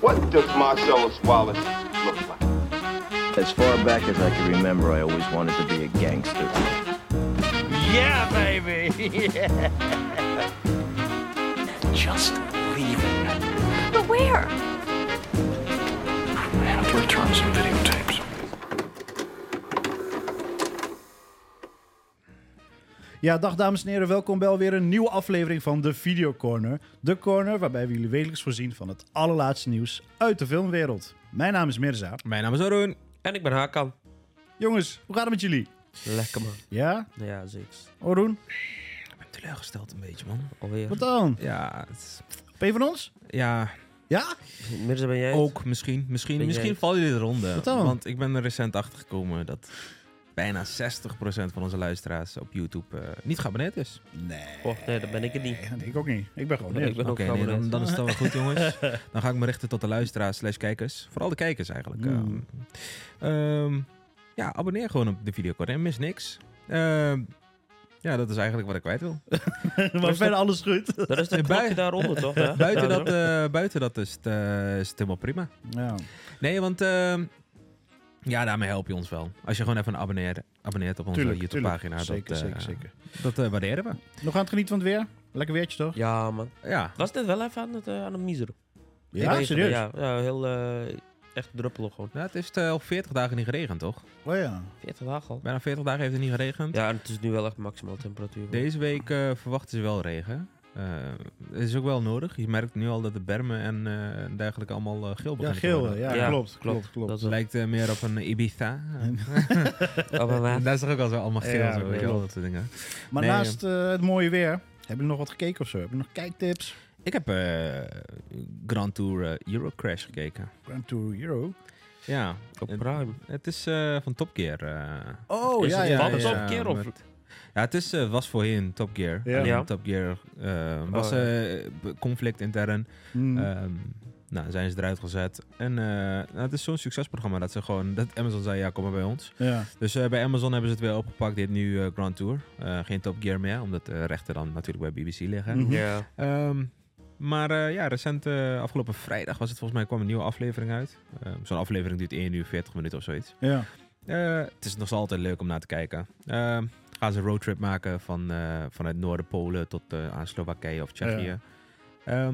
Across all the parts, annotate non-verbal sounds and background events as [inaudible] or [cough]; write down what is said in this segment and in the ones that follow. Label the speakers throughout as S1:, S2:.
S1: What does Marcellus Wallace look like?
S2: As far back as I can remember, I always wanted to be a gangster.
S3: Yeah, baby.
S4: Just leaving.
S5: But where?
S4: I have to return some videotapes.
S6: Ja, dag dames en heren, welkom bij alweer een nieuwe aflevering van de Video Corner. De corner waarbij we jullie wekelijks voorzien van het allerlaatste nieuws uit de filmwereld. Mijn naam is Mirza.
S7: Mijn naam is Arun. En ik ben Hakan.
S6: Jongens, hoe gaat het met jullie?
S7: Lekker man.
S6: Ja,
S7: Ja, zeker.
S6: Oroen?
S7: Ik ben teleurgesteld een beetje man. Alweer.
S6: Wat dan?
S7: Ja, het is-
S6: Ben je van ons?
S7: ja,
S6: Ja?
S8: [laughs] Mirza, ben jij het?
S7: ook misschien. Misschien,
S8: Ben jij
S7: misschien
S8: het?
S7: val je dit ronde.
S6: Wat dan?
S7: Want ik ben er recent achter gekomen dat bijna 60% van onze luisteraars op YouTube eh, niet geabonneerd is.
S6: Nee.
S8: Och, nee, dat ben ik het niet.
S6: Ik ook niet. Ik ben gewoon
S8: Oh, Nee,
S6: nee.
S8: ik
S7: Oké,
S8: ben ook
S7: nee,
S8: geabonneerd.
S7: dan, dan is het wel goed jongens. Dan ga ik me richten tot de luisteraars slash kijkers. Vooral de kijkers eigenlijk.
S6: Hmm.
S7: Ehm, ehm, ja, abonneer gewoon op de videocorner en mis niks. Ehm, ja, dat is eigenlijk wat ik kwijt wil.
S6: Maar verder alles
S8: [laughs]
S6: goed.
S8: Dat is de
S7: Bui- [laughs]
S8: knopje daaronder, toch? hè?
S7: Buiten
S8: Daaronder.
S7: dat, eh, buiten dat is, het, eh, is het helemaal prima.
S6: Ja.
S7: Nee, want ehm, ja, daarmee help je ons wel. Als je gewoon even abonneert, abonneert op onze
S6: Tuurlijk,
S7: YouTube-pagina. Dat,
S6: Zeker,
S7: eh,
S6: zeker, zeker.
S7: dat eh, waarderen we.
S6: Nog aan het genieten van het weer? Lekker weertje toch?
S8: Ja, man.
S7: Ja,
S8: Was dit wel even aan het, eh, aan het miseren? Ik
S6: Ja,
S8: weet het,
S6: serieus?
S8: Ja, ja, heel eh, echt druppelig gewoon.
S7: nou, het is eh, al 40 dagen niet geregend, toch?
S6: Oh ja.
S8: 40 dagen al.
S7: Bijna 40 dagen heeft het niet geregend.
S8: Ja, en het is nu wel echt maximaal temperatuur.
S7: Deze week eh, verwachten ze wel regen. Eh, Het is ook wel nodig. Je merkt nu al dat de bermen en eh, dergelijke allemaal eh, geel
S6: Ja,
S7: beginnen te
S6: geel.
S7: worden.
S6: Ja,
S8: Ja,
S6: klopt, klopt, klopt.
S8: Dat
S7: Het lijkt eh, meer op een
S6: [laughs]
S7: Ibiza.
S8: Oh, maar waar?
S7: Daar is toch ook al zo allemaal geel.
S6: Ja,
S7: zo, weet je wel,
S8: klopt.
S7: dat soort dingen.
S6: Maar
S7: Nee,
S6: naast eh, het mooie weer, hebben jullie nog wat gekeken of zo? Hebben jullie nog kijktips?
S7: Ik heb eh, Grand Tour eh, Eurocrash gekeken.
S6: Grand Tour Euro.
S7: Ja,
S8: Op
S7: het-
S8: Prime.
S7: het is eh, van Top Gear. eh.
S6: Oh,
S8: Is
S6: ja,
S8: het
S6: ja,
S8: van
S6: ja,
S8: Top
S6: ja.
S8: Gear of-
S7: met- Ja, het is, eh, was voorheen Top Gear.
S6: Ja.
S7: Alleen
S8: Ja.
S7: Top Gear eh, was
S8: ja.
S7: eh, conflict intern.
S6: Hmm.
S7: Ehm, nou, zijn ze eruit gezet. En eh, nou, het is zo'n succesprogramma dat ze gewoon... Dat Amazon zei, ja, kom maar bij ons.
S6: ja.
S7: Dus eh, bij Amazon hebben ze het weer opgepakt. Dit nu eh, Grand Tour. Eh, geen Top Gear meer, omdat de rechten dan natuurlijk bij BBC liggen.
S6: Mhm.
S8: Ja.
S7: Ehm, maar eh, ja, recent, eh, afgelopen vrijdag was het volgens mij, kwam een nieuwe aflevering uit. Ehm, Zo'n aflevering duurt 1 uur 40 minuten of zoiets.
S6: Ja.
S7: Eh, het is nog altijd leuk om naar te kijken. Ehm, gaan ze een roadtrip maken van, eh, vanuit Noorden Polen tot eh, aan Slowakije of Tsjechië.
S6: Ja.
S7: Ja.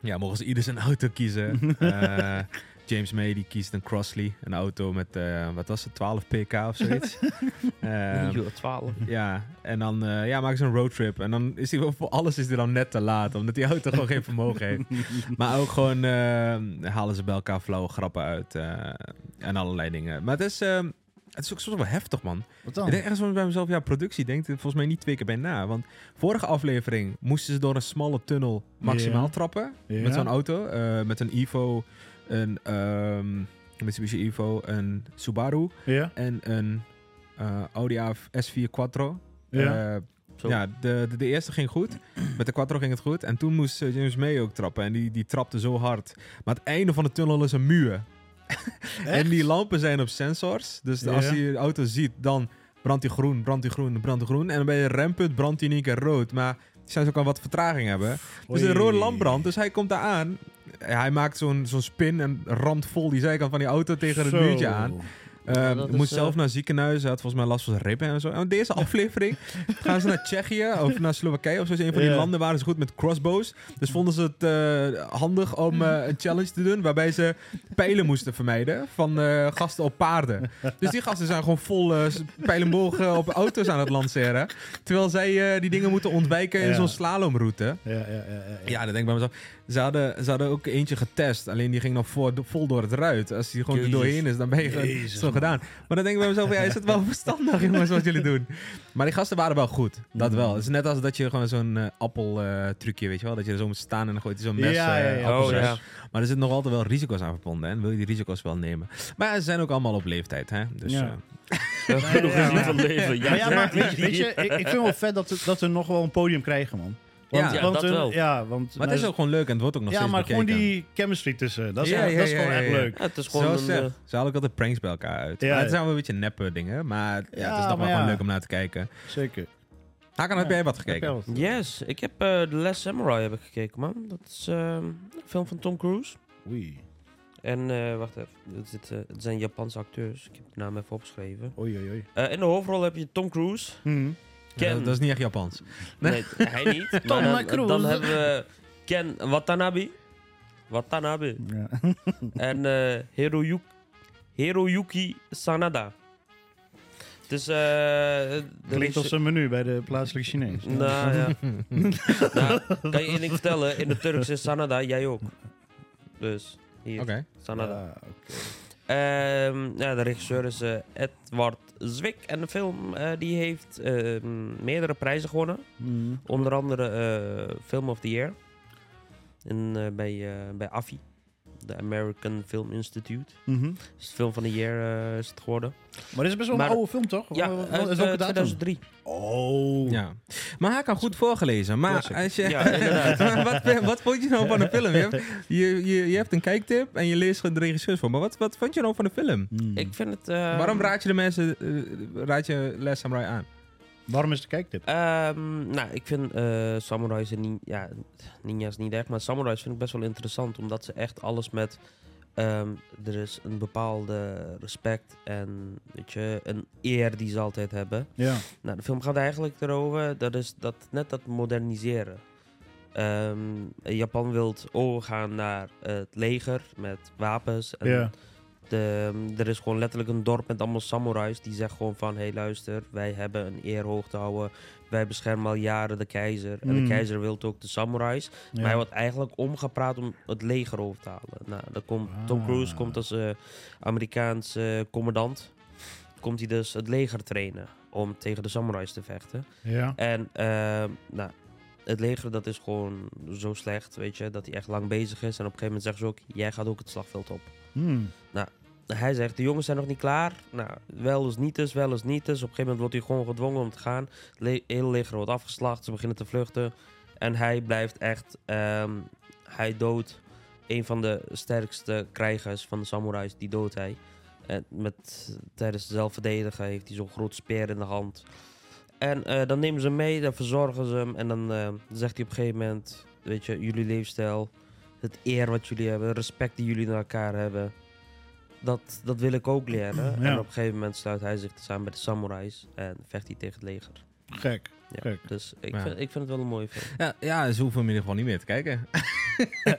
S7: ja, mogen ze ieder zijn [laughs] auto kiezen. Eh, James May die kiest een Crossley, een auto met, eh, wat was het, 12 pk of zoiets. Ehm,
S8: Euro 12.
S7: [laughs] ja, en dan eh, ja, maken ze een roadtrip. En dan is hij wel voor alles is hij dan net te laat, omdat die auto gewoon geen
S6: [laughs]
S7: vermogen heeft. Maar ook gewoon eh, halen ze bij elkaar flauwe grappen uit eh, en allerlei dingen. Maar het is, eh, het is ook soms wel heftig, man.
S6: Wat
S7: Ik
S6: dan?
S7: denk ergens bij mezelf, ja, productie denkt er volgens mij niet twee keer bij na. Want vorige aflevering moesten ze door een smalle tunnel maximaal
S6: Ja.
S7: trappen
S6: Ja.
S7: met zo'n auto. eh, met een Evo, een ehm, Mitsubishi Evo, een Subaru
S6: Ja.
S7: en een eh, Audi A4 S4 Quattro.
S6: Ja.
S7: Eh,
S8: Zo.
S7: ja, de, de, de eerste ging goed. [clears throat] Met de Quattro ging het goed. En toen moest eh, James May ook trappen. En die, die trapte zo hard. Maar het einde van de tunnel is een muur. en die lampen zijn op sensors. Dus
S6: Ja.
S7: als je de auto ziet, dan brandt hij groen, brandt hij groen, brandt hij groen. En dan bij je rempunt brandt hij in één keer rood. Maar zij zou ook al wat vertraging hebben. Dus
S6: Oei.
S7: een rode lamp brandt. Dus hij komt daar aan. Hij maakt zo'n zo'n spin en ramt vol die zijkant van die auto tegen het
S6: Zo.
S7: muurtje aan. Eh,
S8: Ja, dat is,
S7: moest
S8: eh,
S7: zelf naar ziekenhuis. Hij had volgens mij last van zijn ribben en zo. En deze
S8: [laughs]
S7: aflevering gaan ze naar Tsjechië of naar Slowakije of zo. Is een van die
S6: Ja.
S7: landen waren ze goed met crossbows. Dus vonden ze het eh, handig om eh, een challenge te doen waarbij ze pijlen moesten vermijden van eh, gasten op paarden. Dus die gasten zijn gewoon vol eh, s- pijlenbogen op auto's aan het lanceren. Terwijl zij eh, die dingen moeten ontwijken in
S6: Ja.
S7: zo'n slalomroute.
S6: Ja, ja, ja, ja, ja.
S7: Ja, dat denk ik bij mezelf. Ze hadden, ze hadden ook eentje getest. Alleen die ging nog voor, vol door het ruit. Als die gewoon er
S8: Jezus.
S7: doorheen is, dan ben je gewoon-
S6: Jezus,
S7: zo gedaan. Maar dan denk ik bij mezelf, ja, is het
S6: [laughs]
S7: wel verstandig, jongens, wat jullie doen? Maar die gasten waren wel goed. Dat
S6: Mhm.
S7: wel. Het is net als dat je gewoon zo'n eh, appel-trucje, weet je wel. Dat je er zo moet staan en dan gooit je zo'n mes.
S6: Ja, ja,
S7: eh,
S6: ja.
S7: appels
S8: Oh,
S7: uit.
S8: ja.
S7: Maar er zitten nog altijd wel risico's aan verbonden. hè, En wil je die risico's wel nemen? Maar ja, ze zijn ook allemaal op leeftijd, hè? Dus,
S6: Ja.
S7: eh,
S8: Genoeg
S6: ja,
S8: is niet van leven. Ja,
S6: Maar ja, maar weet je, weet je, ik, ik vind het wel vet dat ze, dat ze nog wel een podium krijgen, man.
S7: Ja,
S8: ja,
S6: want
S8: dat
S6: hun-
S8: wel.
S6: Ja, want...
S7: maar het is ook gewoon leuk en het wordt ook nog
S6: Ja,
S7: steeds
S6: maar gewoon
S7: bekeken.
S6: die chemistry tussen. Dat is,
S7: Ja,
S6: echt-
S7: ja,
S6: dat is
S7: ja,
S6: gewoon
S7: ja,
S6: echt
S7: ja.
S6: leuk.
S8: Ja, het is
S7: Zo
S8: gewoon
S7: Seth.
S8: een... eh,
S7: Ze halen ook altijd pranks bij elkaar uit.
S6: Ja,
S7: Maar
S6: ja.
S7: het zijn wel een beetje neppe dingen, maar ja,
S6: Ja,
S7: het is toch
S6: maar
S7: wel gewoon
S6: ja.
S7: leuk om naar te kijken.
S6: Zeker.
S7: Hakan, heb
S6: Ja.
S7: jij wat
S6: Heb jij
S7: gekeken?
S6: wat?
S8: Yes, ik heb eh The Last Samurai heb ik gekeken, man. Dat is ehm, een film van Tom Cruise.
S6: Oei.
S8: En eh, wacht even, het, zit, eh, het zijn Japanse acteurs. Ik heb de naam even opgeschreven.
S6: Oei, oei, oei.
S8: Eh, in de hoofdrol heb je Tom Cruise.
S6: Mhm.
S8: Ken.
S7: dat, dat is [laughs] niet echt
S6: [laughs]
S7: Japans.
S8: Nee, hij niet. Maar
S6: Tom
S8: dan,
S6: Cruise.
S8: dan hebben we Ken Watanabe. Watanabe.
S6: Ja.
S8: En eh Hiroyuki, Hiroyuki Sanada. Dus eh... de
S6: Klinkt als een menu bij de plaatselijke Chinees.
S8: Nou ja.
S7: Hm,
S8: nou, kan je één ding vertellen? In de Turks is Sanada, jij ook. Dus, hier,
S7: Oké.
S8: Sanada.
S6: Ah, oké.
S8: Ehm, ja, de regisseur is eh, Edward Zwick. En de film eh, die heeft eh, meerdere prijzen gewonnen.
S6: Mhm.
S8: Onder andere eh, Film of the Year. En, eh, bij, eh, bij AFI. De American Film Institute.
S6: Mhm.
S8: Is het film van de year eh, is het geworden.
S6: Maar dit is best Oh, wel een
S8: Maar-
S6: oude film, toch?
S8: Ja,
S6: Wat- wat- is
S8: uit, eh,
S6: welke datum?
S8: 2003.
S6: Oh.
S7: Ja. Maar hij kan goed voorgelezen. Maar
S6: Classic.
S7: als je, [laughs]
S8: Ja, inderdaad.
S7: wat, wat vond je nou van de film? Je hebt, je, je, je hebt een kijktip en je leest de regisseurs voor. Maar wat, wat vond je nou van de film?
S6: Hmm.
S8: Ik vind het... eh,
S7: Waarom raad je de mensen eh, raad je Les Samurai aan?
S6: Waarom is de kijktip?
S8: Ehm, nou, ik vind eh samurai's en nin ja, ninja's niet echt, maar samurai's vind ik best wel interessant, omdat ze echt alles met... ehm, er is een bepaalde respect en weet je, een eer die ze altijd hebben.
S6: Ja.
S8: Nou, de film gaat eigenlijk erover, dat is dat, net dat moderniseren. Ehm, Japan wil overgaan naar het leger met wapens. En
S6: Ja.
S8: de, ehm, er is gewoon letterlijk een dorp met allemaal samurais die zegt gewoon van... hé hey, luister, wij hebben een eer hoog te houden. Wij beschermen al jaren de keizer. En
S6: Mm.
S8: de keizer wil ook de samurais.
S6: Ja.
S8: Maar hij wordt eigenlijk omgepraat om het leger over te halen. Nou, dan komt Tom Cruise
S6: Ah.
S8: komt als eh Amerikaans eh, commandant. Komt hij dus het leger trainen om tegen de samurais te vechten.
S6: ja.
S8: En ehm, nou, het leger dat is gewoon zo slecht, weet je, dat hij echt lang bezig is. En op een gegeven moment zeggen ze ook, jij gaat ook het slagveld op.
S6: Hmm.
S8: Hij zegt, de jongens zijn nog niet klaar. Nou, wel eens niet eens, wel eens niet eens. Op een gegeven moment wordt hij gewoon gedwongen om te gaan. Het le- hele leger wordt afgeslacht, ze beginnen te vluchten. En hij blijft echt, ehm, hij doodt een van de sterkste krijgers van de samurais, die doodt hij. En met, tijdens het zelfverdedigen heeft hij zo'n groot speer in de hand. En eh, dan nemen ze hem mee, dan verzorgen ze hem. En dan eh, zegt hij op een gegeven moment, weet je, jullie leefstijl, het eer wat jullie hebben, het respect die jullie naar elkaar hebben. Dat, dat wil ik ook leren.
S6: Ja.
S8: En op een gegeven moment sluit hij zich samen bij de samurais en vecht hij tegen het leger.
S6: Gek.
S8: Ja,
S6: Kijk.
S8: Dus ik,
S7: Ja.
S8: vind, ik vind het wel een mooie
S6: [laughs]
S8: film.
S7: Ja, ja, ze hoeven hem in ieder geval niet meer te [laughs] kijken.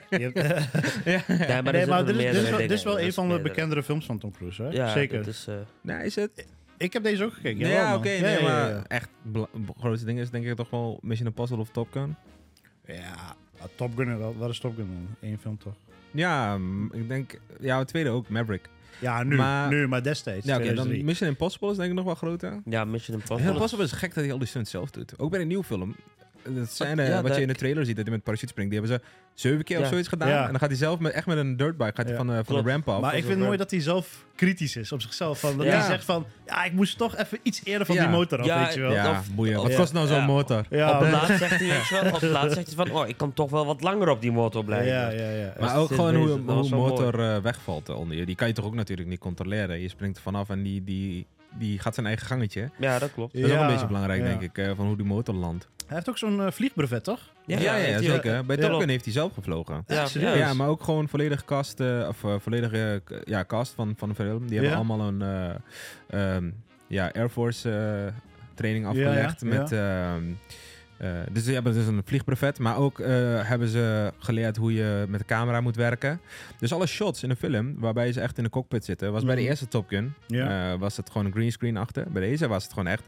S6: Je [laughs] hebt-
S7: ja.
S8: Ja,
S6: nee, maar dit is, dit, is wel,
S8: meerdere
S6: dit is wel een
S8: dingen.
S6: van de
S8: Dat is meerdere.
S6: bekendere films van Tom Cruise, hè?
S8: Ja,
S6: Zeker.
S8: dat is, eh,
S7: Nou, is het?
S6: Ik heb deze ook gekeken.
S7: Nee,
S6: jawel,
S7: ja,
S6: man.
S7: oké. nee,
S6: ja, ja,
S7: maar
S6: ja.
S7: echt bela- grootste ding is denk ik toch wel Mission Impossible of Top Gun.
S6: Ja, ah, Top Gun, wel- wat is Top Gun dan? Eén film toch?
S7: Ja, mm, ik denk... Ja, het tweede ook, Maverick.
S6: Ja, nu,
S7: Maar-
S6: nu, maar destijds.
S7: Ja,
S6: Ja,
S7: oké, dan Mission Impossible is denk ik nog wel groter.
S8: ja, Mission
S7: Mission
S8: Impossible.
S7: Impossible is gek dat hij al die stunts zelf doet. Ook bij een nieuw film. Dat scène
S8: ja,
S7: wat
S8: dat-
S7: je in de trailer ziet, dat hij met parachute springt. Die hebben ze zeven keer of
S8: Ja.
S7: zoiets gedaan.
S6: Ja.
S7: En dan gaat hij zelf met, echt met een dirtbike gaat hij
S6: Ja.
S7: van, eh, van de
S8: Klopt.
S7: ramp af.
S6: maar ik vind het
S8: wel-
S6: mooi dat hij zelf kritisch is op zichzelf. Van, dat
S8: Ja.
S6: hij zegt van, ja, ik moest toch even iets eerder van
S7: Ja.
S6: die motor af,
S8: Ja,
S6: weet je wel. Ja,
S7: ja,
S8: of-
S7: boeien.
S8: of-
S7: Wat
S8: ja.
S7: kost nou zo'n
S8: Ja.
S7: motor?
S8: op
S6: ja,
S8: het laatst zegt hij, weet je wel,
S6: [laughs]
S8: op het laatst zegt hij van, oh, ik kan toch wel wat langer op die motor
S6: ja,
S8: blijven.
S6: ja, ja.
S7: Maar
S8: Ja,
S7: ook
S8: het is
S7: gewoon hoe,
S8: bezig. Dat
S7: hoe
S8: was
S7: een
S8: wel mooi.
S7: motor eh, wegvalt onder je. Die kan je toch ook natuurlijk niet controleren. Je springt er vanaf en die, die, die gaat zijn eigen gangetje.
S8: Ja, dat klopt.
S7: Dat is ook
S6: Ja,
S7: een beetje belangrijk,
S6: ja.
S7: denk ik, eh, van hoe die motor landt.
S6: Hij heeft ook zo'n eh, vliegbrevet, toch?
S7: Ja, ja,
S8: heeft hij ook.
S7: zeker. Bij
S6: Ja.
S7: Top Gun heeft hij zelf gevlogen.
S8: Ja,
S6: serieus?
S7: Ja,
S8: serieus.
S7: maar ook gewoon volledig cast, eh, of eh, volledige eh, k- ja, cast van, van de film. Die
S6: Ja.
S7: hebben allemaal een eh, ehm, ja, Air Force eh, training afgelegd.
S6: Ja, ja, ja.
S7: Met, ehm, eh, dus ze hebben dus een vliegbrevet, maar ook eh, hebben ze geleerd hoe je met de camera moet werken. Dus alle shots in de film, waarbij ze echt in de cockpit zitten, was bij de
S6: Mhm.
S7: eerste Top Gun.
S6: Ja.
S7: Eh, was het gewoon een green screen achter. Bij deze was het gewoon echt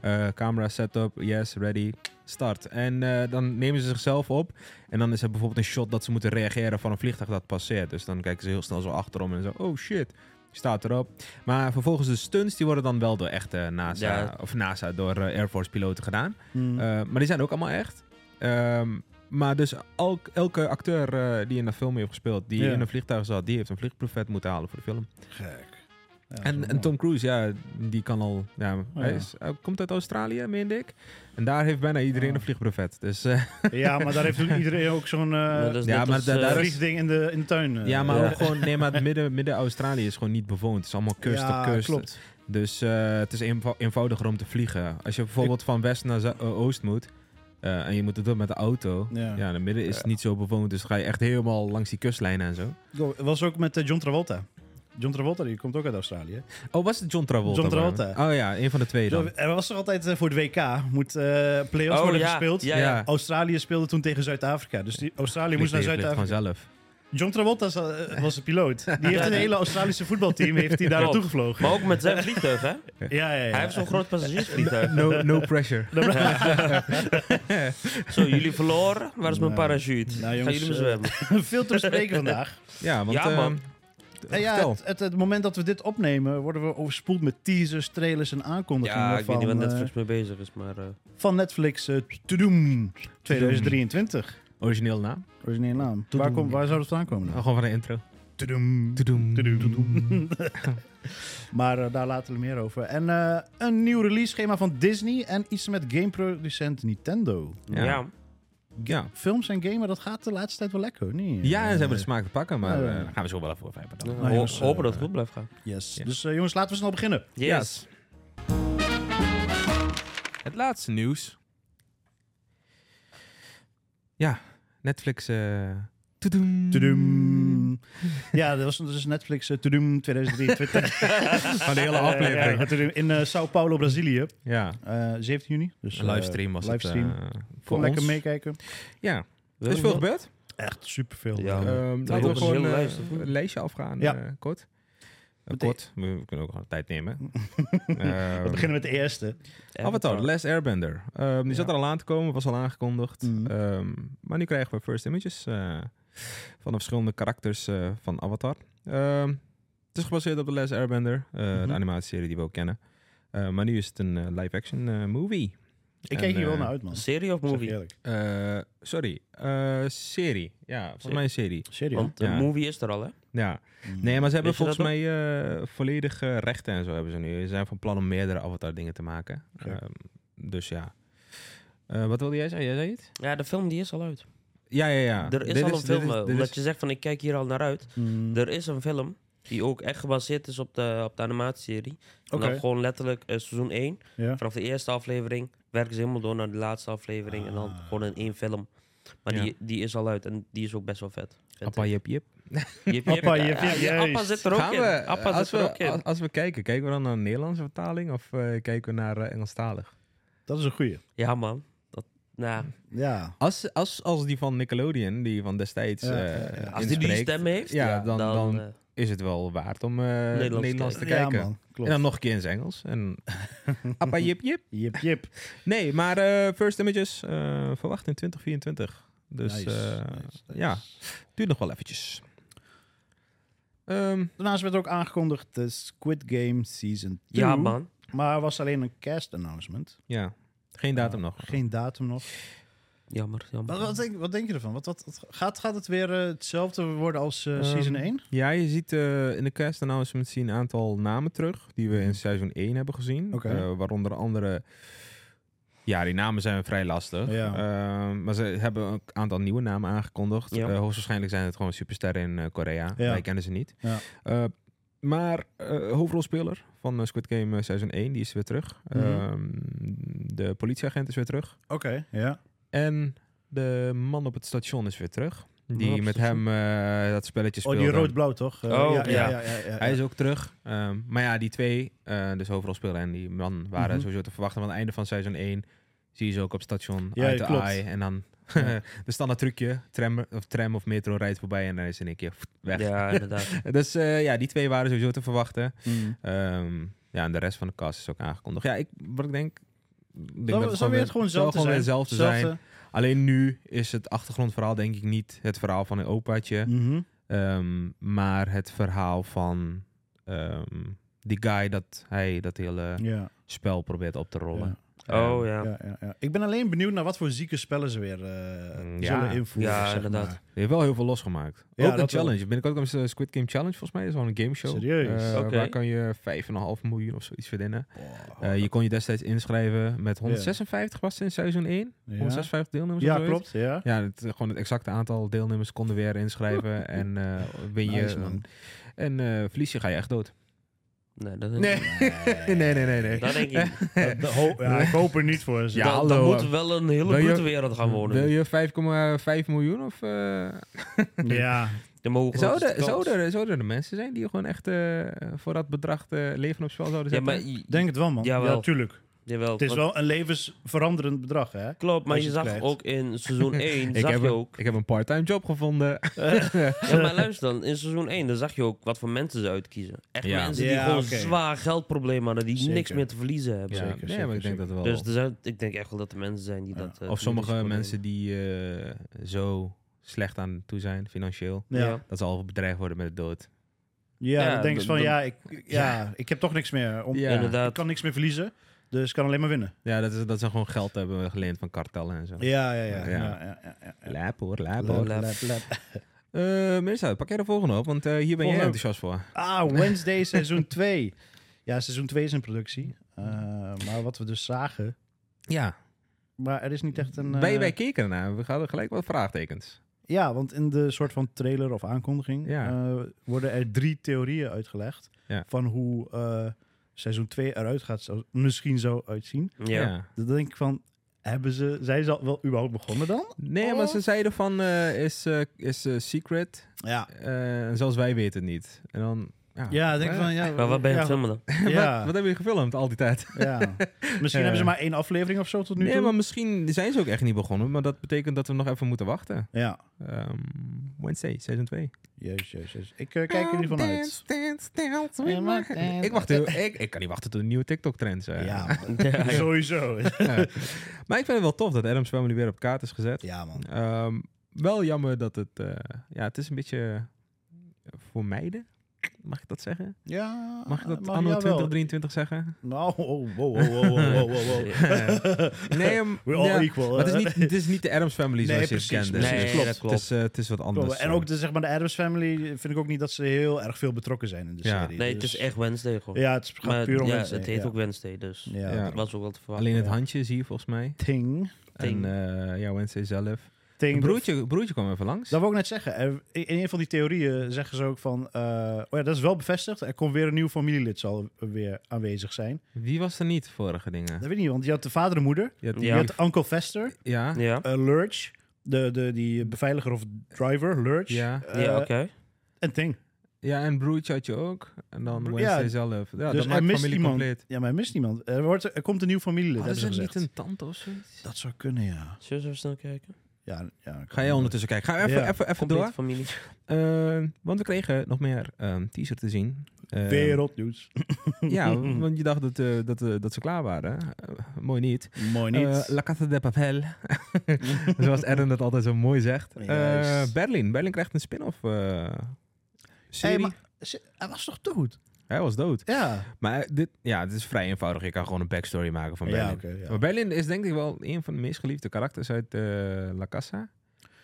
S7: eh, camera setup, yes, ready, start. En eh, dan nemen ze zichzelf op. En dan is er bijvoorbeeld een shot dat ze moeten reageren van een vliegtuig dat passeert. Dus dan kijken ze heel snel zo achterom en zo, oh shit, staat erop. Maar vervolgens de stunts, die worden dan wel door echte NASA,
S8: Ja.
S7: of NASA, door eh, Air Force piloten gedaan.
S6: Mm.
S7: Eh, maar die zijn ook allemaal echt. Ehm, maar dus elk- elke acteur eh, die in dat film heeft gespeeld, die
S6: Ja.
S7: in een vliegtuig zat, die heeft een vliegprovet moeten halen voor de film.
S6: Gek. Ja, dat is
S7: En,
S6: wel
S7: en
S6: mooi. Oh,
S7: Tom Cruise, ja, die kan al. Ja, Hij,
S6: ja.
S7: is, hij komt uit Australië, meen ik. En daar heeft bijna iedereen
S6: Ah.
S7: een vliegbrevet. Dus eh,
S6: Ja, maar daar heeft ook iedereen ook zo'n eh,
S8: Maar dat is
S7: ja,
S8: net
S7: maar
S8: als,
S7: da-
S8: eh,
S7: daar is-
S6: vliegding in de, in de tuin. eh.
S7: ja, maar
S8: Ja.
S7: ook gewoon. Nee, maar het midden, midden Australië is gewoon niet bewoond. Het is allemaal kust
S6: Ja,
S7: op kust.
S6: klopt.
S7: Dus eh, het is eenvou- eenvoudiger om te vliegen. Als je bijvoorbeeld van west naar zu- eh, oost moet. Eh, en je moet het doen met de auto.
S6: Ja.
S7: Ja, in het midden is het niet zo bewoond. Dus ga je echt helemaal langs die kustlijn en zo.
S6: Go- was ook met eh, John Travolta. John Travolta, die komt ook uit Australië.
S7: Oh, was het John Travolta?
S6: John
S7: waar?
S6: Travolta.
S7: Oh ja, een van de twee
S6: Zo,
S7: dan.
S6: er was toch altijd eh, voor het WK, moet eh play-offs
S8: Oh,
S6: worden
S8: ja.
S6: gespeeld.
S8: Ja, ja.
S7: Ja.
S6: Australië speelde toen tegen Zuid-Afrika. Dus die Australië moest naar
S7: Vliegt- vliegt
S6: Zuid-Afrika.
S7: gewoon
S6: [laughs]
S7: zelf.
S6: John Travolta za- eh, was de piloot. Die heeft
S8: Ja.
S6: het hele Australische voetbalteam heeft hij daar naartoe
S8: Klopt.
S6: gevlogen.
S8: Maar ook met zijn vliegtuig, hè?
S6: [laughs] Ja, ja, ja.
S8: Hij heeft zo'n groot passagiersvliegtuig.
S7: No, no pressure.
S8: [laughs] Zo, jullie verloren. Waar is mijn
S6: Nou.
S8: parachute?
S6: Nou,
S8: Gaan
S6: jongens,
S8: jullie me
S6: eh,
S8: zwemmen?
S6: [laughs] Veel te bespreken vandaag.
S7: Ja, want...
S8: Ja,
S7: eh,
S8: man.
S6: En ja,
S7: vertel.
S6: het, het, het moment dat we dit opnemen, worden we overspoeld met teasers, trailers en aankondigingen
S8: Ja, ik
S6: van,
S8: weet niet waar
S6: eh,
S8: Netflix mee bezig is, maar... eh,
S6: van Netflix eh, Tudoem 2023.
S7: Origineel naam.
S6: Originele naam. Waar, komt waar zou dat vandaan komen?
S7: Oh,
S6: dan?
S7: gewoon van de intro.
S6: Tudoem.
S7: Toedoem.
S6: [laughs] Maar eh, daar laten we meer over. En eh, een nieuw release schema van Disney en iets met gameproducent Nintendo.
S7: Ja.
S8: ja.
S7: Ja.
S6: Films en gamen, dat gaat de laatste tijd wel lekker, hoor, niet?
S7: Ja, en ze hebben de smaak te pakken, maar
S6: Ja,
S7: eh,
S6: ja.
S7: daar gaan we zo wel even over hebben. Dan.
S8: Ho-
S6: Nou, jongens, eh,
S8: hopen dat het goed blijft gaan.
S6: Yes.
S7: Ja.
S6: Dus eh, jongens, laten we snel beginnen.
S8: Yes.
S7: Het laatste nieuws. Ja, Netflix. eh toedoem.
S6: Tudum. Ja, dat was dus Netflix eh, Tudum
S7: [laughs]
S6: 2023.
S7: Van de hele aflevering.
S6: [laughs] Ja, tudum, in eh, Sao Paulo, Brazilië.
S7: Ja,
S6: Eh 17 juni. Dus,
S7: een livestream was
S6: het. livestream.
S7: het. eh,
S6: Kom
S7: voor
S6: lekker
S7: ons.
S6: meekijken.
S7: Ja, er
S8: Wil
S7: is
S8: je
S7: veel
S8: nog-
S7: gebeurd.
S6: Echt superveel.
S7: [laughs]
S8: Ja.
S6: Eh,
S7: Ehm,
S8: dat
S7: laten we
S8: is een
S7: gewoon
S8: hele
S7: eh,
S8: lijst.
S7: een lijstje afgaan,
S6: Ja.
S7: eh, kort. Eh,
S6: Meteen.
S7: kort, we, we kunnen ook gewoon tijd nemen.
S6: we
S7: Ehm,
S6: beginnen met de eerste.
S7: Avatar, The Last Airbender. Ehm, die zat er al aan te komen, was al aangekondigd.
S6: Mhm.
S7: Ehm, maar nu krijgen we first images eh, van de verschillende karakters eh, van Avatar. Ehm, het is gebaseerd op The Last Airbender, eh,
S6: Mhm.
S7: de animatieserie die we ook kennen. Eh, maar nu is het een eh, live-action eh, movie.
S6: Ik keek hier wel naar uit, man.
S8: Serie of
S6: Zeg
S8: movie?
S6: eerlijk.
S7: Eh, sorry, eh, serie. Ja, volgens mij een serie. Mm.
S6: Serieus?
S8: Want de
S7: Ja.
S8: movie is er al, hè?
S7: Ja. Nee, maar ze hebben
S8: Wist je dat
S7: volgens mij eh, volledige rechten en zo hebben ze nu. Ze zijn van plan om meerdere Avatar dingen te maken.
S6: Kijk.
S7: Ehm, dus ja. Eh, wat wilde jij zeggen? Jij zei het?
S8: Ja, de film die is al uit.
S7: Ja, ja, ja.
S8: Er is
S7: Dit
S8: al een
S7: dit
S8: film. eh,
S7: dit
S8: omdat je zegt van, ik kijk hier al naar uit.
S6: Mm.
S8: Er is een film die ook echt gebaseerd is op de, op de animatieserie. En
S6: Oké.
S8: dan gewoon letterlijk eh, seizoen 1.
S6: Ja.
S8: Vanaf de eerste aflevering werken ze helemaal door naar de laatste aflevering. En dan gewoon in één film. Maar
S7: Ja.
S8: die, die is al uit en die is ook best wel vet. vind
S7: Appa,
S8: ik.
S7: jip, jip.
S8: Jip, jip.
S6: Appa, jip, jip,
S8: Ja, ja, Ah, Appa
S6: juist.
S8: zit er ook
S7: Gaan
S8: in.
S7: we,
S8: Appa
S7: als,
S8: zit er ook
S7: we,
S8: in.
S7: als, als we kijken, kijken we dan naar een Nederlandse vertaling of eh, kijken we naar eh, Engelstalig?
S6: Dat is een goeie.
S8: Ja, man. Dat, nou,
S6: Ja.
S7: Als, als, als die van Nickelodeon, die van destijds,
S6: Ja,
S7: eh,
S6: ja, ja.
S8: als die die
S7: inspreekt,
S8: stem heeft,
S7: ja, dan- dan-
S8: eh,
S7: is het wel waard om eh, Nederlands, te
S8: kijken.
S7: kijken.
S6: Ja, man.
S7: en
S6: Klopt.
S7: dan nog een keer in zijn Engels. En Appa, jip, jip.
S6: Jip, jip.
S7: Nee, maar eh, first images eh, verwacht in 2024. [laughs] Dus
S6: Nice,
S7: eh,
S6: nice, nice.
S7: ja, duurt nog wel eventjes. Ehm,
S6: Daarnaast werd ook aangekondigd de Squid Game Season 2.
S7: Mm-hmm.
S8: ja, man.
S6: Maar er was alleen een cast announcement.
S7: ja, geen datum nog.
S6: Geen datum nog.
S8: Jammer, jammer.
S6: Wat, wat, denk, wat denk je ervan? Wat, wat, wat- gaat, gaat het weer eh, hetzelfde worden als eh,
S7: Ehm,
S6: season 1?
S7: Ja, je ziet eh, in de cast announcement zie je een aantal namen terug die we in seizoen 1 hebben gezien.
S6: Mhm. Oké.
S7: Eh, waaronder andere. Ja, die namen zijn vrij lastig.
S6: Ja.
S7: Ehm, maar ze hebben ook een aantal nieuwe namen aangekondigd.
S8: Ja.
S7: Eh, hoogstwaarschijnlijk zijn het gewoon supersterren in eh, Korea.
S6: Ja.
S7: Wij kennen ze niet.
S6: Ja.
S7: Eh, maar eh, hoofdrolspeler van eh, Squid Game eh, seizoen 1, die is weer terug.
S6: Mhm.
S7: Ehm, de politieagent is weer terug.
S6: Oké, ja.
S7: En de man op het station is weer terug.
S6: Man op
S7: Die
S6: het
S7: met hem eh, dat spelletje
S6: Oh,
S7: speelde.
S6: die rood-blauw toch? Eh,
S8: Oh, ja.
S6: ja, ja,
S7: Hij is ook terug. Ehm, maar ja, die twee, eh, dus overal spelen en die man, waren
S6: Mhm.
S7: sowieso te verwachten. Want aan het einde van seizoen 1 zie je ze ook op station
S6: Ja,
S7: uit de
S6: klopt.
S7: eye. En dan [laughs]
S6: Ja.
S7: de standaard trucje, tram of, tram of metro rijdt voorbij en dan is ze in één keer weg.
S8: Ja, inderdaad.
S7: [laughs] Dus eh, ja, die twee waren sowieso te verwachten.
S6: Mm.
S7: Ehm, ja, en de rest van de cast is ook aangekondigd. Ja, ik, wat ik denk... ik denk dat
S6: Zou, zou weer het gewoon
S7: zal
S6: hetzelfde
S7: gewoon weer
S6: zijn?
S7: hetzelfde zijn. Alleen nu is het achtergrondverhaal denk ik niet het verhaal van een opaatje.
S6: Mhm.
S7: Ehm, maar het verhaal van ehm, die guy dat hij dat hele
S6: Ja,
S7: spel probeert op te rollen. Ehm,
S8: Oh,
S6: ja,
S8: ja.
S6: ja, ja, ja. Ik ben alleen benieuwd naar wat voor zieke spellen ze weer eh
S7: Mm, ja.
S6: zullen invoeren.
S8: Ja,
S6: zeg
S8: inderdaad.
S6: maar.
S7: Die heeft wel heel veel losgemaakt.
S6: Ja,
S7: ook een
S6: dat wel.
S7: challenge. Binnenkort komt een Squid Game Challenge volgens mij. Dat is wel een gameshow.
S6: Serieus?
S7: Eh,
S8: Oké.
S7: Waar kan je 5,5 miljoen of zoiets verdienen.
S6: Oh,
S7: Eh, je kon je destijds inschrijven met 156 was het in seizoen 1.
S6: ja.
S7: 156 deelnemers of
S6: ja,
S7: zoiets.
S6: klopt. Ja.
S7: Ja, het, eh, gewoon het exacte aantal deelnemers
S6: [laughs]
S7: konden weer inschrijven. en eh, win je.
S6: Nice, man. [laughs]
S7: en eh, verlies je, ga je echt dood.
S8: Nee, dat denk ik
S7: Nee. nee, [laughs] nee, nee, nee.
S8: niet.
S7: [laughs]
S8: Dat denk ik niet.
S7: Eh,
S6: Dat- dat ho- ja, ik hoop er niet voor. ze.
S7: Ja,
S8: Dan- dan
S7: hallo.
S8: moet we wel een hele
S7: Wil je-
S8: brute wereld gaan
S7: Hm, Wil
S8: wonen.
S7: je 5,5 miljoen of... eh,
S6: ja.
S8: De mogen
S7: Zouden, zouden, er- zouden er mensen zijn die gewoon echt eh, voor dat bedrag eh, leven op spel zouden
S8: Ja,
S7: zetten?
S8: maar...
S6: Denk het wel, man.
S8: Jawel.
S6: Ja, tuurlijk.
S8: Jawel,
S6: Het is
S8: want-
S6: wel een levensveranderend bedrag, hè?
S8: Klopt, maar
S6: als
S8: je
S6: je het
S8: zag
S6: krijgt.
S8: ook
S7: [laughs]
S8: in seizoen 1,
S7: ik,
S8: zag
S7: heb
S8: je
S7: een-
S8: ook...
S7: ik heb een parttime job [laughs] gevonden.
S8: Ja, maar luister dan, in seizoen 1, dan zag je ook wat voor mensen ze uitkiezen. Echt
S7: Ja.
S8: mensen die
S6: Ja,
S8: gewoon
S6: oké.
S8: zwaar geldproblemen hadden, die
S6: Zeker.
S8: niks meer te verliezen hebben.
S7: ja, nee, maar ik denk dat wel.
S8: Dus er zijn, ik denk echt wel dat er mensen zijn die dat... eh,
S7: of sommige
S8: verliezen.
S7: mensen die eh, zo slecht aan toe zijn financieel,
S6: Ja.
S8: Ja.
S6: Ja,
S7: dat ze al bedreigd worden met de dood.
S8: Ja,
S6: dan denk je
S8: dan-
S6: van,
S8: dan-
S6: ja ik, ja, ik heb toch niks meer. Om,
S7: Ja.
S6: Ik
S8: Inderdaad.
S6: kan niks meer verliezen, dus ik kan alleen maar winnen.
S7: Ja, dat, is, dat ze gewoon geld hebben geleend van kartellen en zo.
S6: Ja, ja, ja.
S7: Ja.
S6: ja, ja, ja, ja.
S7: Lijp hoor, lijp
S6: Lap,
S7: hoor.
S8: lap.
S6: lap, lap.
S7: Eh, Mirza, pak jij de volgende op, want eh, hier ben
S6: Volgende.
S7: jij enthousiast voor.
S6: Ah, Wednesday seizoen 2. Ja, seizoen 2 is in productie. Eh, maar wat we dus zagen...
S7: Ja,
S6: Maar er is niet echt een... eh,
S7: wij, wij keken ernaar. We hadden gelijk wat vraagtekens.
S6: Ja, want in de soort van trailer of aankondiging
S7: Ja.
S6: eh, worden er drie theorieën uitgelegd
S7: Ja.
S6: van hoe eh, seizoen 2 eruit gaat, zo, misschien zo uitzien.
S8: Ja.
S6: Dan denk ik van, hebben ze, zijn ze al wel überhaupt begonnen dan?
S7: Nee, maar ze zeiden van, eh, is, eh, is eh, secret,
S6: Ja.
S7: Eh, en zelfs wij weten het niet. En dan, ja,
S6: Ja, dan denk ik
S7: Eh,
S6: van, ja.
S8: Maar wat ben je aan
S6: ja,
S8: het filmen dan?
S6: Ja,
S7: [laughs] wat, wat hebben je gefilmd al die tijd?
S6: ja. Misschien
S7: Eh.
S6: hebben ze maar één aflevering of zo tot nu
S7: nee,
S6: toe.
S7: maar misschien zijn ze ook echt niet begonnen. Maar dat betekent dat we nog even moeten wachten.
S6: Ja.
S7: Ehm, Wednesday, seizoen 2.
S6: Jezus, jezus, jezus. Ik eh, kijk er niet van uit. Ja, maar-
S7: Ik, wacht heel- ik, ik kan niet wachten tot de nieuwe TikTok-trends. eh.
S6: Ja,
S7: [laughs]
S6: [laughs]
S8: Ja, ja.
S6: sowieso.
S7: Maar ik vind het wel tof dat Adam's Family weer op kaart is gezet.
S6: Ja, man.
S7: Ehm, wel jammer dat het... eh, ja, het is een beetje eh, voor meiden. Mag ik dat zeggen?
S6: Ja,
S7: Mag ik dat
S6: maar
S7: anno
S6: Eh, jawel.
S7: 2023
S6: [laughs]
S7: zeggen?
S6: Nou, oh, wow, wow, wow, wow, wow, wow.
S7: [laughs] Nee, ehm,
S6: We're all
S7: ja,
S6: equal.
S7: maar het, is
S6: hè?
S7: niet, het
S6: [laughs]
S7: is niet de Adams Family zoals
S6: Nee,
S7: je het
S6: precies,
S7: kende.
S6: precies,
S7: Dus
S8: klopt.
S7: het is- Het is, eh, het is wat anders.
S6: en ook de, zeg maar, de Adams Family vind ik ook niet dat ze heel erg veel betrokken zijn in de
S7: Ja.
S6: serie.
S8: Nee, het
S6: Dus-
S8: is echt Wednesday gewoon.
S6: Ja, het is- gaat
S8: Maar
S6: puur om
S8: ja,
S6: mensen,
S8: het heet
S6: ja.
S8: ook Wednesday, dus
S6: Ja.
S7: Ja.
S8: dat was ook wel te verwachten.
S7: Alleen het
S6: Ja.
S7: handje zie je volgens mij.
S6: Ting.
S7: En
S8: Ting.
S7: eh, ja, Wednesday zelf.
S6: Ting.
S7: Broertje, broertje kwam even langs.
S6: Dat wil ik net zeggen. Er- in een van die theorieën zeggen ze ook van... eh, oh ja, dat is wel bevestigd. Er komt weer een nieuw familielid zal weer aanwezig zijn.
S7: Wie was er niet vorige dingen?
S6: Dat weet ik niet, want je had de vader en moeder.
S7: Je had-
S8: Ja.
S6: Je had Uncle Fester.
S7: ja.
S8: Ja,
S6: eh, Lurch. De, de, die beveiliger of driver, Lurch.
S7: Ja.
S6: eh,
S8: ja oké.
S6: En Ting.
S7: ja, en broertje had je ook. En dan
S6: Bro-
S7: Wednesday
S6: ja.
S7: zelf. Ja,
S6: dus
S7: dat
S6: er
S7: maakt
S6: mist
S7: familie
S6: iemand.
S7: compleet. Oh,
S6: Ja, maar er mist iemand. Er, wordt, er komt een nieuw familielid,
S7: Hadden
S6: hebben ze
S7: ze
S6: gezegd.
S7: niet een tante of zoiets?
S6: Dat zou kunnen, ja.
S8: Zullen we even snel kijken?
S6: ja, ja
S7: Ga jij ondertussen kijken. Ga
S6: Ja.
S7: even, even, even
S8: Complete
S7: door.
S8: familie.
S7: Eh, want we kregen nog meer ehm, teaser te zien. Eh,
S6: Wereldnieuws. [laughs]
S7: Ja, want je dacht dat, eh, dat, eh, dat ze klaar waren. Eh, mooi niet.
S6: Mooi niet.
S7: Eh, La Casa
S6: [laughs]
S7: de Papel. Zoals Aaron dat altijd zo mooi zegt. Eh,
S6: Juist.
S7: Berlin. Berlin krijgt een spin-off. eh, serie.
S6: Hey, maar ze- hij was toch dood?
S7: Hij was dood.
S6: Ja.
S7: Maar dit, ja, dit is vrij eenvoudig. Je kan gewoon een backstory maken van
S6: Ja,
S7: Berlin.
S6: oké, ja.
S7: Maar Berlin is denk ik wel een van de meest geliefde karakters uit eh, La Casa.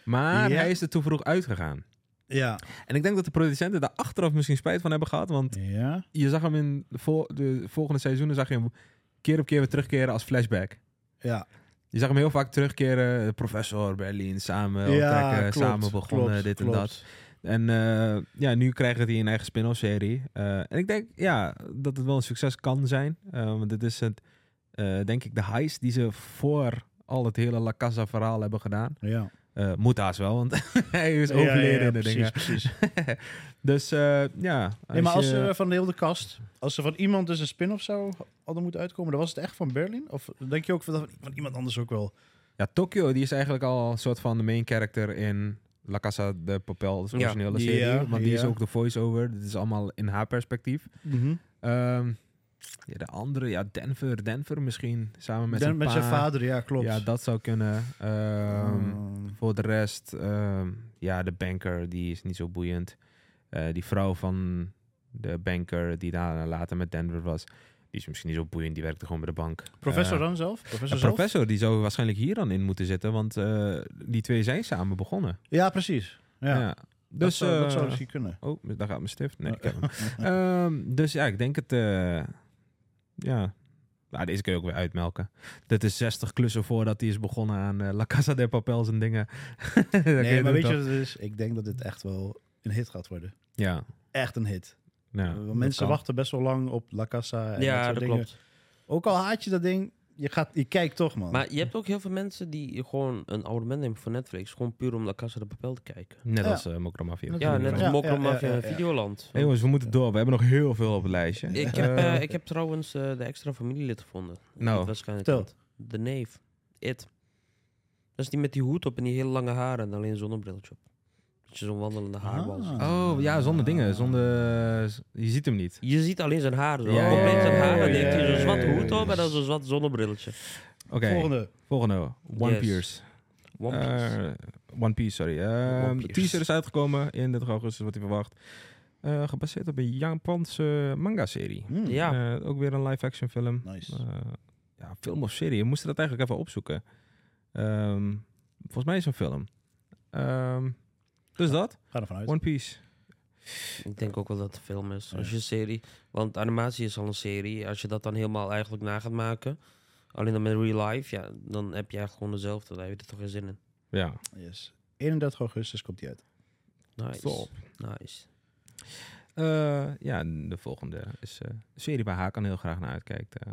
S7: Maar
S6: Ja.
S7: hij is er te vroeg uitgegaan.
S6: Ja.
S7: En ik denk dat de producenten daar achteraf misschien spijt van hebben gehad. Want
S6: Ja.
S7: je zag hem in de, vol- de volgende seizoenen zag je hem keer op keer weer terugkeren als flashback. Eh,
S6: Ja.
S7: Je zag hem heel vaak terugkeren. eh, Professor, Berlin, samen
S6: ja,
S7: trekken,
S6: klopt,
S7: samen begonnen,
S6: klopt,
S7: dit
S6: klopt.
S7: en dat. En eh, ja, nu krijgen die een eigen spin-off serie. Eh, en ik denk ja, dat het wel een succes kan zijn. Eh, want dit is het, eh, denk ik de heist die ze voor al het hele La Casa verhaal hebben gedaan.
S6: Ja.
S7: Eh, moet haast wel, want [laughs] hij is overleden in de
S6: precies,
S7: dingen. [laughs]
S6: precies.
S7: Dus eh, ja. Als
S6: Nee, maar als eh,
S7: je-
S6: ze van de hele kast, als ze van iemand dus een spin-off zou hadden moeten uitkomen, dan was het echt van Berlin? Of denk je ook van, van iemand anders ook wel?
S7: Ja, Tokyo die is eigenlijk al een soort van de main character in La Casa de Papel, de
S8: Ja.
S7: originele
S6: Ja,
S7: serie. want die is
S6: ja.
S7: ook de voice-over. Dit is allemaal in haar perspectief.
S8: Mhm.
S7: Ehm, ja, de andere, ja, Denver. Denver misschien, samen met
S6: Dan-
S7: zijn
S6: met
S7: pa.
S6: zijn vader, ja, klopt.
S7: Ja, dat zou kunnen. Ehm,
S6: Ehm,
S7: Voor de rest, ehm, ja, de banker, die is niet zo boeiend. Eh, die vrouw van de banker, die daarna later met Denver was, die is misschien niet zo boeiend. Die werkte gewoon bij de bank.
S6: professor
S7: Eh,
S6: dan zelf? Professor
S7: een
S6: zelf?
S7: professor die zou waarschijnlijk hier dan in moeten zitten, want eh, die twee zijn samen begonnen.
S6: Ja, precies. Ja.
S7: Ja.
S6: Dus, dat
S7: Dus,
S6: zou, dat zou
S7: eh,
S6: misschien kunnen.
S7: oh, daar gaat mijn stift. Nee, ik heb hem.
S6: [laughs]
S7: Ehm, dus ja, ik denk het. eh, ja. Maar deze kun je ook weer uitmelken. Dit is 60 klussen voordat hij is begonnen aan eh, La Casa de Papel en dingen. [laughs] Dan kun
S6: Nee, maar
S7: doen
S6: weet je
S7: toch?
S6: wat het is? Ik denk dat dit echt wel een hit gaat worden.
S7: Ja.
S6: Echt een hit.
S7: Ja,
S6: Want
S7: dat
S6: Eh, mensen
S7: kan.
S6: wachten best wel lang op La Casa. En
S8: ja,
S6: soort
S8: dat
S6: dingen.
S8: klopt.
S6: Ook al haat je dat ding, je, gaat, je kijkt toch, man.
S8: Maar je hebt ook heel veel mensen die gewoon een abonnement nemen voor Netflix. Gewoon puur om La Casa de Papel te kijken.
S7: Net
S6: Ja.
S7: als eh Mokro Mafia.
S6: Ja,
S8: Ja, net als
S6: Ja,
S8: Mokro
S6: ja, ja,
S8: Mafia
S6: ja,
S8: en
S6: ja.
S8: Videoland.
S7: Hey jongens, we moeten door. We hebben nog heel veel op het lijstje.
S8: Ik heb, eh, ik heb trouwens eh, de extra familielid gevonden.
S7: Nou,
S8: Dat waarschijnlijk
S6: vertel.
S8: had. De neef. It. Dat is die met die hoed op en die hele lange haren en alleen een zonnebrilletje op. Dat je zo'n wandelende
S6: Ah.
S8: haarbal ziet.
S7: Oh ja, zonder dingen. Zonder... eh, Je ziet hem niet.
S8: Je ziet alleen zijn haren. Zo.
S7: Ja,
S8: Compleet
S7: ja,
S8: zijn
S7: ja,
S8: haren.
S7: ja,
S8: en dan heeft hij
S7: ja,
S8: zo'n zwarte
S7: ja, ja,
S8: hoed op
S7: ja.
S8: en dan zo'n zwart zonnebrilletje.
S7: Oké, volgende.
S6: Volgende.
S7: One
S8: Yes.
S7: Piece.
S8: One Piece.
S7: Eh, One Piece, sorry. Eh,
S8: One
S7: de
S8: Piece.
S7: teaser is uitgekomen in 30 augustus, wat hij verwacht. Eh, gebaseerd op een Japanse manga-serie.
S6: Hmm.
S8: Ja.
S7: Eh, ook weer een live-action film.
S6: Nice.
S7: Eh, ja, film of serie. We moesten dat eigenlijk even opzoeken. Ehm, volgens mij is het een film. Ehm, dus dat.
S6: Ga ervan uit.
S7: One Piece.
S8: Ik denk ook wel dat het een film is. Als je een serie. Want animatie is al een serie. Als je dat dan helemaal eigenlijk na gaat maken. Alleen dan met real life, ja, dan heb je eigenlijk gewoon dezelfde. Daar heb je er toch geen zin in.
S7: Ja.
S6: Yes. 31 augustus komt die uit.
S8: Nice.
S7: Top.
S8: Nice.
S7: Eh, ja, en de volgende is eh, een serie waar Hakan heel graag naar uitkijkt. eh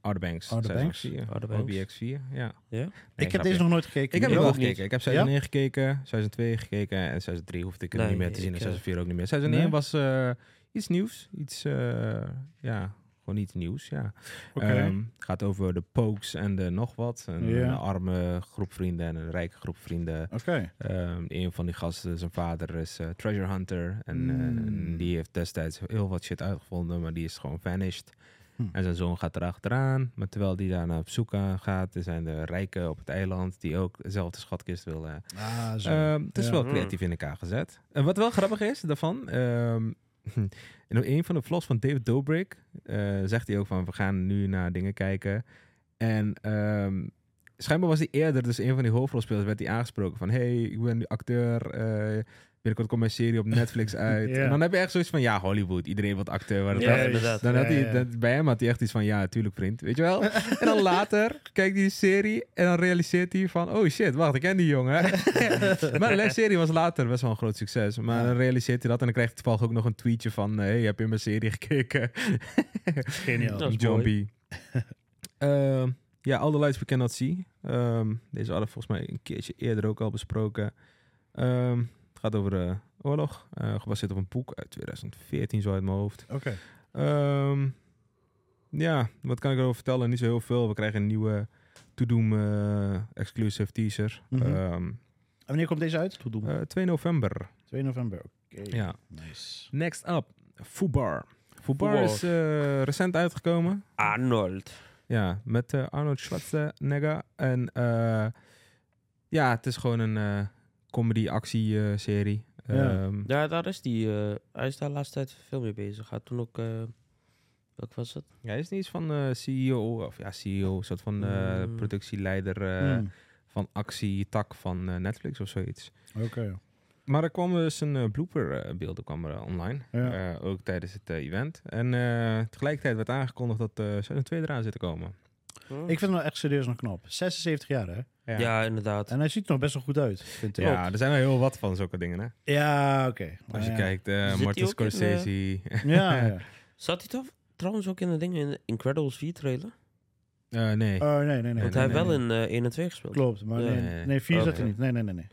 S7: Outer Banks.
S6: Outer
S7: seizoen
S6: Banks?
S7: 4,
S8: Outer Banks.
S7: OBX 4, ja.
S8: Ja?
S7: Nee,
S6: ik heb
S7: grapje.
S6: deze nog nooit gekeken.
S7: Ik heb
S6: Jij
S7: hem wel
S6: ook niet?
S7: gekeken. Ik heb seizoen 1 gekeken, seizoen 2 gekeken en seizoen 3 hoefde ik er
S8: Nee,
S7: niet meer te zien en
S8: ik,
S7: seizoen
S8: eh,
S7: 4 ook niet meer. Seizoen
S6: Nee.
S7: 1 was eh, iets nieuws. Iets, eh, ja, gewoon iets nieuws, ja.
S6: Oké.
S7: Ehm, het gaat over de pokes en de nog wat. En
S6: Ja.
S7: Een arme groep vrienden en een rijke groep vrienden.
S6: Oké.
S7: Ehm, een van die gasten, zijn vader is eh, treasure hunter. En
S6: Mm.
S7: eh, die heeft destijds heel wat shit uitgevonden, maar die is gewoon vanished.
S6: Hm.
S7: En zijn zoon gaat erachteraan. Maar terwijl die daar naar op zoek aan gaat, er zijn de rijken op het eiland die ook dezelfde schatkist willen.
S6: Ah, zo.
S7: Ehm, het is
S6: Ja.
S7: wel
S8: Mm.
S7: creatief in elkaar gezet. En wat wel grappig is daarvan, ehm, [laughs] in een van de vlogs van David Dobrik eh, zegt hij ook van we gaan nu naar dingen kijken. En ehm, schijnbaar was hij eerder, dus een van die hoofdrolspelers werd hij aangesproken van hey, ik ben nu acteur, eh binnenkort komt mijn serie op
S6: [laughs]
S7: Netflix uit.
S6: Ja.
S7: En dan heb je echt zoiets van ja, Hollywood, iedereen wordt acteur. Waar het
S8: Ja,
S7: echt- [laughs]
S8: inderdaad.
S7: dan had
S6: Ja,
S7: hij,
S6: ja.
S7: dat- bij hem had hij echt iets van, ja, tuurlijk vriend, weet je wel. en dan later [laughs] kijkt hij die serie en dan realiseert hij van, oh shit, wacht, ik ken die jongen. [laughs] maar de serie was later best wel een groot succes. Maar dan realiseert hij dat en dan krijgt hij toevallig ook nog een tweetje van, hey, heb je mijn serie [laughs] gekeken?
S6: Geniaal.
S8: Dat is
S7: John
S8: mooi.
S7: B. [laughs] Ehm, ja, All the Lights We Cannot See. Ehm, deze hadden we volgens mij een keertje eerder ook al besproken. Ehm, het gaat over de oorlog, eh, gebaseerd op een boek uit 2014, zo uit mijn hoofd.
S6: Oké.
S7: Ehm, ja, wat kan ik erover vertellen? Niet zo heel veel. We krijgen een nieuwe To Doom eh, exclusive teaser.
S6: Mhm.
S7: Ehm,
S6: En wanneer komt deze uit? Toedoen.
S7: eh, 2 november.
S6: 2 november. Oké.
S7: Ja.
S6: Nice.
S7: Next up, Fubar. Fubar
S8: Fubar.
S7: is eh, recent uitgekomen.
S8: Arnold.
S7: Ja, met eh, Arnold Schwarzenegger. En eh, ja, het is gewoon een eh, comedy-actie-serie.
S6: Ja.
S7: Ehm,
S8: Ja, daar is die. eh, hij is daar de laatste tijd veel mee bezig. Hij had toen ook. eh welk was het?
S7: hij is niet iets van eh, CEO, of ja, CEO, een soort van eh,
S8: Mm.
S7: productieleider. eh,
S6: Hmm.
S7: van actietak van eh, Netflix of zoiets.
S6: Oké.
S7: Maar er kwam dus een eh, blooper eh, beelden kwam er, eh, online.
S6: Ja.
S7: Eh, ook tijdens het eh, event. En eh, tegelijkertijd werd aangekondigd dat eh seizoen 2 eraan zit te komen.
S8: Hm?
S6: Ik vind hem nou echt serieus nog knap. 76 jaar, hè?
S7: Ja,
S8: ja, inderdaad.
S6: En hij ziet er nog best wel goed uit, vind ik.
S7: Ja, er zijn wel heel wat van zulke dingen. Hè?
S6: Ja, oké. Maar
S7: Als je
S6: ja.
S7: kijkt, eh,
S8: Zit
S7: Martin
S8: die ook in, eh,
S7: Scorsese. [laughs]
S6: Ja, ja.
S8: Zat hij toch trouwens ook in de dingen in de Incredibles 4 trailer?
S7: Eh, nee.
S6: Oh, nee, nee, nee.
S8: Want
S6: nee,
S8: hij
S6: nee,
S8: heeft
S6: nee.
S8: wel in eh 1 en 2 gespeeld.
S6: Klopt, maar nee,
S7: Nee.
S6: nee, vier
S8: Oké.
S6: zat er niet. Nee, nee, nee. nee.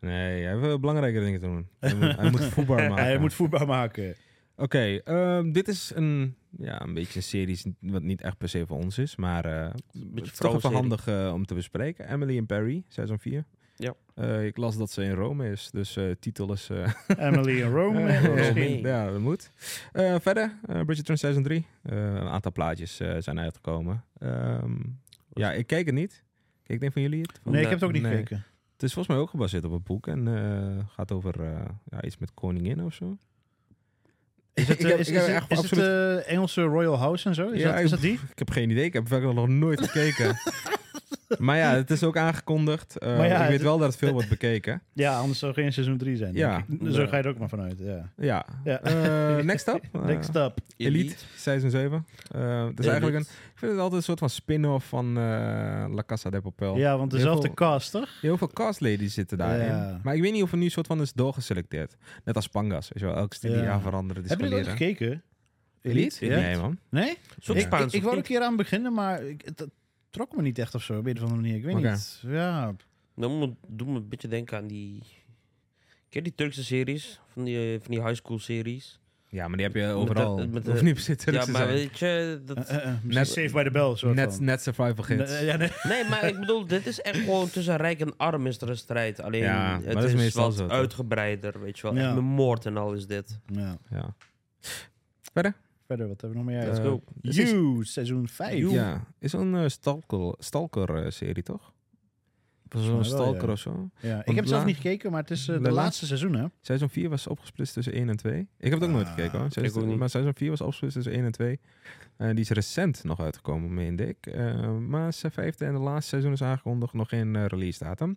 S7: Nee, hij heeft belangrijke dingen te doen. Hij moet, [laughs] hij moet voetbal maken.
S6: [laughs] Hij moet voetbal maken.
S7: Oké, ehm, dit is een, ja, een beetje een serie s- wat niet echt per se voor ons is, maar eh het is toch even
S8: vrouwenserie.
S7: handig eh, om te bespreken. Emily en Perry, seizoen 4.
S8: Ja.
S7: Eh, ik las dat ze in Rome is, dus eh titel is... eh,
S6: Emily en Rome.
S7: [laughs]
S6: eh, misschien.
S8: Rome.
S7: ja, dat moet. Eh, verder, eh Bridgerton seizoen 3. Eh, een aantal plaatjes eh, zijn uitgekomen. Ehm, ja, ik keek het niet. Keek een van jullie het?
S6: Nee, ik heb het ook niet
S7: Nee.
S6: gekeken.
S7: Het is volgens mij ook gebaseerd op een boek en eh, gaat over eh, ja, iets met koningin of zo.
S6: Is het,
S7: [laughs] Ik
S6: eh,
S7: heb-
S6: is,
S7: ik
S6: is
S7: heb
S6: het-
S7: echt
S6: is het
S7: absoluut-
S6: eh, Engelse Royal House en zo? Is,
S7: Ja,
S6: dat, is dat die? [laughs]
S7: Ik heb geen idee, ik heb verder nog nooit gekeken. Maar ja, het is ook aangekondigd. Eh,
S6: Maar ja,
S7: ik weet
S6: het-
S7: wel dat het veel wordt bekeken.
S6: Ja, anders zou geen seizoen 3 zijn.
S7: Ja.
S6: denk ik. Zo ga je er ook maar vanuit. Ja.
S7: Ja.
S6: Ja.
S7: Eh, next up.
S6: [laughs]
S7: Eh,
S6: Next up.
S7: Elite, seizoen 7. Eh dat is eigenlijk een,
S8: Elite.
S7: ik vind het altijd een soort van spin-off van eh, La Casa de Papel.
S6: Ja, want
S7: Heel
S6: dezelfde
S7: veel-
S6: cast, toch?
S7: Heel veel castladies zitten daarin.
S6: Ja.
S7: Maar ik weet niet of er nu een soort van is doorgeselecteerd. Net als Pangas. Weet je wel, elk studiejaar
S6: Ja.
S7: veranderen,
S6: Hebben jullie dat
S7: discaleren.
S6: gekeken?
S7: Elite?
S6: Ja.
S7: Nee, man.
S6: Nee?
S8: Zoek
S6: Ik, ik,
S8: Spaans.
S6: ik wou
S8: of
S6: er een
S8: niet?
S6: keer aan beginnen, maar ik, het, het trok me niet echt of zo. Op een of andere manier. Ik weet
S7: Oké.
S6: niet. Ja.
S8: Dat moet- doet me een beetje denken aan die. Ken je die Turkse series? Van die, eh, van die high school series.
S7: Ja, maar die heb je overal.
S8: de-
S7: [laughs]
S8: met de-
S7: Hoeft niet per se Turks te
S8: ja, maar
S7: zijn.
S8: weet je. Dat...
S6: Eh, eh, eh, misschien
S7: Net-
S6: Saved by the Bell. Soort
S7: Net,
S6: van.
S7: net survival gids.
S6: Nee, ja, nee.
S8: Nee, maar ik bedoel, dit is echt gewoon tussen rijk en arm is er een strijd. Alleen
S7: Ja, maar
S8: het
S7: dat is
S8: is,
S7: meestal
S8: wat
S7: zo, toch?
S8: uitgebreider, weet je wel.
S6: Ja.
S8: Echt met moord en al is dit.
S6: Ja.
S7: Ja.
S6: Verder, wat hebben we nog meer?
S7: Let's
S6: Eh,
S7: go.
S6: You, seizoen 5.
S7: Ja, is zo'n eh, stalker, stalker eh, serie toch? Was
S6: mij
S7: zo'n
S6: wel,
S7: stalker
S6: ja.
S7: of zo.
S6: Ja, ik
S7: Want
S6: heb zelf
S7: la-
S6: niet gekeken, maar het is eh,
S7: de
S6: de
S7: laatste-
S6: laatste seizoen, hè?
S7: Seizoen 4 was opgesplitst tussen 1 en 2. Ik heb het ook nooit
S6: Ah,
S7: gekeken hoor. Seizoen-
S8: ook niet.
S7: Maar seizoen 4 was opgesplitst tussen 1 en 2. Eh, die is recent nog uitgekomen, meende ik. Eh, maar zijn vijfde en de laatste seizoen is aangekondigd. Nog geen eh, release datum.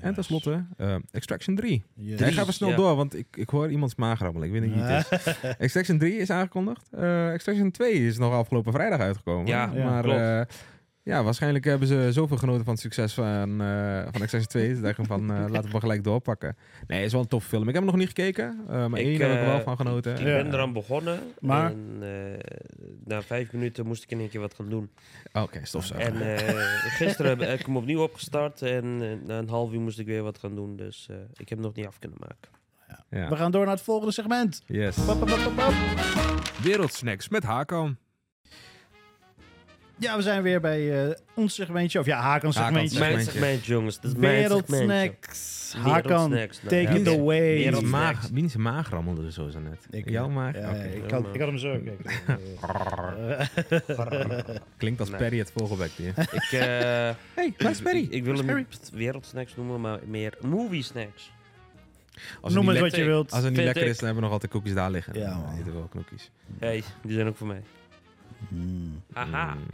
S7: En tenslotte eh, Extraction 3.
S6: Yes.
S7: Hij gaat wel snel
S8: ja.
S7: door, want ik, ik hoor iemands maag rammelen. Ik weet niet wie het is.
S6: [laughs]
S7: Extraction 3 is aangekondigd. Eh, Extraction 2 is nog afgelopen vrijdag uitgekomen.
S8: Ja,
S6: Ja,
S7: maar
S8: klopt.
S7: eh, ja, waarschijnlijk hebben ze zoveel genoten van het succes van, eh, van Extraction 2. Ze dachten van, eh, laten we maar gelijk doorpakken. Nee, het is wel een tof film. Ik heb hem nog niet gekeken, eh, maar
S8: Ik,
S7: één heb ik er wel
S8: eh,
S7: van genoten.
S8: Ik
S6: Ja.
S8: ben eraan begonnen.
S6: Maar-
S8: En eh, na vijf minuten moest ik in één keer wat gaan doen.
S7: Oh, Oké, stofzuiger.
S8: En eh, gisteren heb ik hem opnieuw opgestart. En eh, na een half uur moest ik weer wat gaan doen. Dus eh, ik heb hem nog niet af kunnen maken.
S6: We
S7: Ja.
S6: gaan door naar het volgende segment.
S7: Yes.
S6: Pap, pap, pap, pap.
S7: Wereldsnacks met Hakan.
S6: Ja, we zijn weer bij eh, ons segmentje. Of ja, Hakan's
S7: Hakan's
S6: segmentje.
S7: segment.
S8: Mijn
S7: Segmentje.
S8: segment, jongens. Dat is mijn segmentje.
S6: Wereldsnacks. Hakan,
S8: Wereldsnacks, nou,
S6: take
S8: ja,
S6: it
S8: oké.
S6: away.
S8: Wereld-
S7: Wiens maag, wiens maag rammelde zo zo net?
S6: Ik,
S7: Jouw
S6: eh,
S7: maag?
S6: Ja,
S7: Oké.
S6: ik, had, ik had hem
S8: [laughs]
S6: zo. Eh, Kijk.
S7: Klinkt als
S8: Nee.
S7: Perry het vogelbekje. hier.
S8: Ik, eh,
S7: hey, waar is
S8: ik, ik wil hem niet wereldsnacks noemen, maar meer movie snacks.
S6: Noem
S7: Als
S6: het
S7: het niet
S6: wat je
S8: lekker-
S6: wilt.
S7: Als het niet
S8: Vind
S7: lekker
S8: ik.
S7: is, dan hebben we nog altijd koekjes daar liggen.
S6: Ja,
S7: Ja,
S6: man.
S7: dan eten we wel knoekjes.
S8: hey, die zijn ook voor mij.
S6: Hmm.
S8: Haha.
S7: Mm.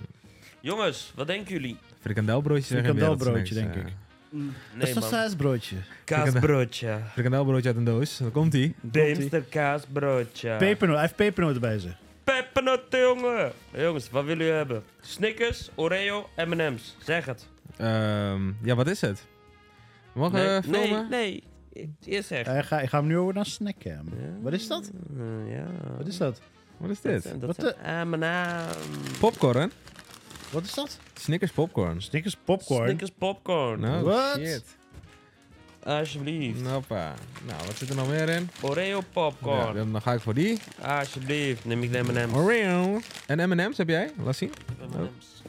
S8: Jongens, wat denken jullie?
S7: Frikandelbroodjes zijn geen
S6: Frikandelbroodje,
S7: wereldsnacks,
S6: denk
S7: eh.
S6: [laughs] Dat is
S8: Nee,
S6: toch
S8: man.
S6: sausbroodje?
S8: Kaasbroodje.
S7: Eh, Frikandelbroodje uit een doos. Dan komt die.
S8: Deemster kaasbroodje.
S6: Pepernoot. Hij heeft pepernoten bij zich.
S8: Pepernoten, jongen. Jongens, wat willen jullie hebben? Snickers, Oreo, M&M's. Zeg het.
S7: Ehm, ja, wat is het? Mag
S8: nee,
S7: eh, filmen?
S8: nee, nee. E- Eerst zeg.
S6: Eh, ga, ik ga hem nu over naar snacken.
S8: Ja.
S6: Wat is dat?
S8: Eh, ja.
S6: Wat is dat?
S7: Wat is
S8: Dat
S7: dit?
S8: zijn- Dat
S6: Wat
S8: zijn M&M's.
S7: Popcorn?
S6: Wat is dat?
S7: Snickers popcorn.
S6: Snickers popcorn.
S8: Snickers popcorn.
S7: Nou,
S6: Wat?
S7: shit.
S8: Alsjeblieft.
S7: Hoppa. Nou, wat zit er nog meer in?
S8: Oreo
S7: Ja,
S8: popcorn.
S7: dan dan ga ik voor die.
S8: Alsjeblieft. Neem ik de M&M's.
S7: Oreo. En M&M's heb jij? Laat zien.
S8: M&M's.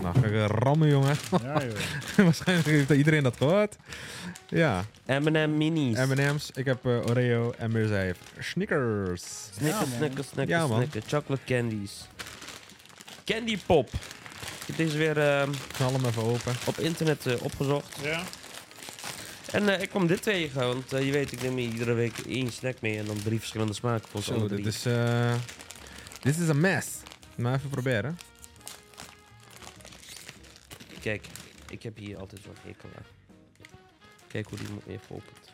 S7: Nou, ga ik eh, rammen, jongen. [laughs]
S6: Ja, joh.
S7: Waarschijnlijk heeft iedereen dat gehoord. Ja.
S8: M&M minis.
S7: M&M's, ik heb eh, Oreo en Mirza heeft Snickers.
S8: Snickers,
S6: Ja, man.
S8: snickers, snickers,
S7: Ja, man.
S8: snickers. Chocolate candies. Candy pop. Ik heb deze weer ehm,
S7: Knal hem even open.
S8: op internet eh, opgezocht.
S6: Ja.
S8: En eh, ik kwam dit tegen, want eh, je weet, ik neem hier iedere week één snack mee en dan drie verschillende smaken volgens
S7: Zo,
S8: alle
S7: dit
S8: drie.
S7: is... eh, Dit is een mess. Maar even proberen.
S8: Kijk, ik heb hier altijd zo'n hekel aan. Kijk hoe die me even opent.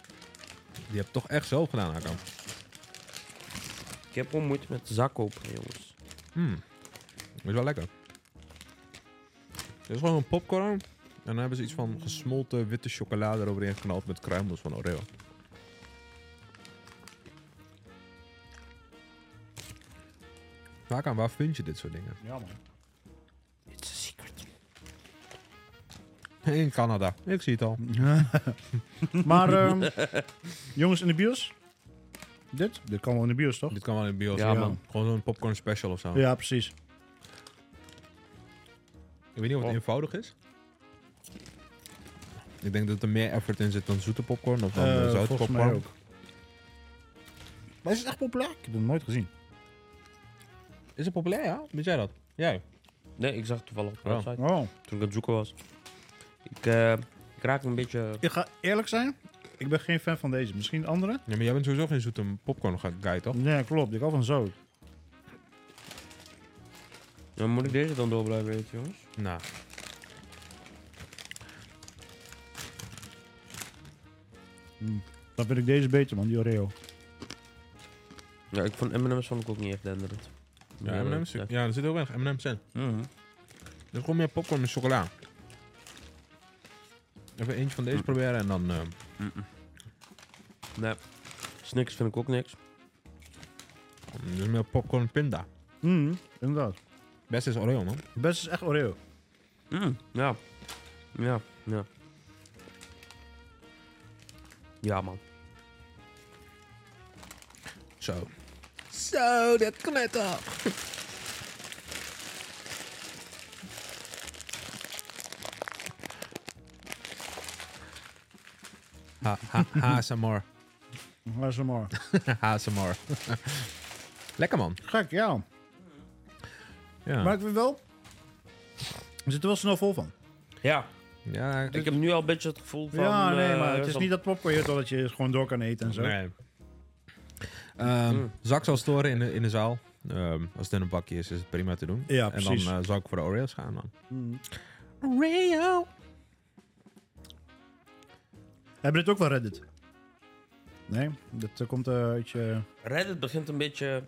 S7: Die heb ik toch echt zelf gedaan, Hakan.
S8: Ik heb gewoon moeite met de zak openen, jongens.
S7: Hmm. Is wel lekker. Dit is gewoon een popcorn. En dan hebben ze iets van gesmolten witte chocolade eroverheen geknald met kruimels van Oreo. Hakan, waar vind je dit soort dingen?
S6: Ja, man.
S8: It's a secret.
S7: In Canada. Ik zie het al.
S6: Maar
S8: [laughs]
S6: ehm, jongens in de bios? Dit? Dit kan wel in de bios, toch?
S7: Dit kan wel in de bios.
S8: Ja,
S7: Ja.
S8: man.
S7: Gewoon zo'n popcorn special of zo.
S6: Ja, precies.
S7: Ik weet niet of het
S8: Oh.
S7: eenvoudig is. Ik denk dat er meer effort in zit dan zoete popcorn of dan
S6: Eh,
S7: eh, zoute
S6: volgens mij
S7: popcorn.
S6: ook. Maar is het echt populair? Ik heb het nooit gezien.
S7: Is het populair, ja? Weet jij dat? Jij?
S8: Nee, ik zag het toevallig op de
S7: Ja.
S8: website
S6: Oh.
S8: toen ik aan het zoeken was. Ik, eh, ik raak een beetje...
S6: Ik ga eerlijk zijn. Ik ben geen fan van deze. Misschien andere?
S7: Ja, maar jij bent sowieso geen zoete popcorn guy, toch?
S6: Nee, klopt. Ik hou van zout.
S8: Ja, moet ik deze dan door blijven eten, jongens?
S7: Nou,
S6: Dan vind ik deze beter, man, die Oreo.
S8: Ja, ik vond M&M's vond ik ook niet echt denderend.
S7: Ja, M&M's.
S8: Nee.
S7: Ja, er zit heel weinig M&M's in.
S8: Mhm.
S7: Dus gewoon meer popcorn met chocola. Even eentje van deze
S6: Hm.
S7: proberen en dan... eh,
S8: Nee. Snickers vind ik ook niks.
S7: dus meer popcorn pinda.
S6: Mm, inderdaad.
S7: Best is Oreo, man.
S6: Het beste is echt Oreo.
S8: Mm, ja. Ja, ja. Ja, man.
S7: Zo. Zo, dat knetter. Ha, ha, [laughs] ASMR.
S6: Waar is hem maar?
S7: ASMR. [laughs] Lekker man.
S6: Gek, ja.
S7: Ja.
S6: Maar ik vind wel... Er zit er wel snel vol van.
S8: Ja,
S7: ja
S8: ik heb nu al een beetje het gevoel van...
S6: Dus- ja, nee,
S8: eh,
S6: maar het is
S8: zo'n-
S6: niet dat popcorn je dat je gewoon door kan eten en zo. Mm.
S7: Nee. Ehm, Zak zal storen in de, in de zaal. Ehm, als het in een bakje is, is het prima te doen.
S6: Ja,
S7: en dan
S6: precies.
S7: eh, zal ik voor de Oreos gaan, man.
S8: Oreo.
S6: Hebben dit ook wel Reddit? Nee, dat eh, komt eh, uit je...
S8: Reddit begint een beetje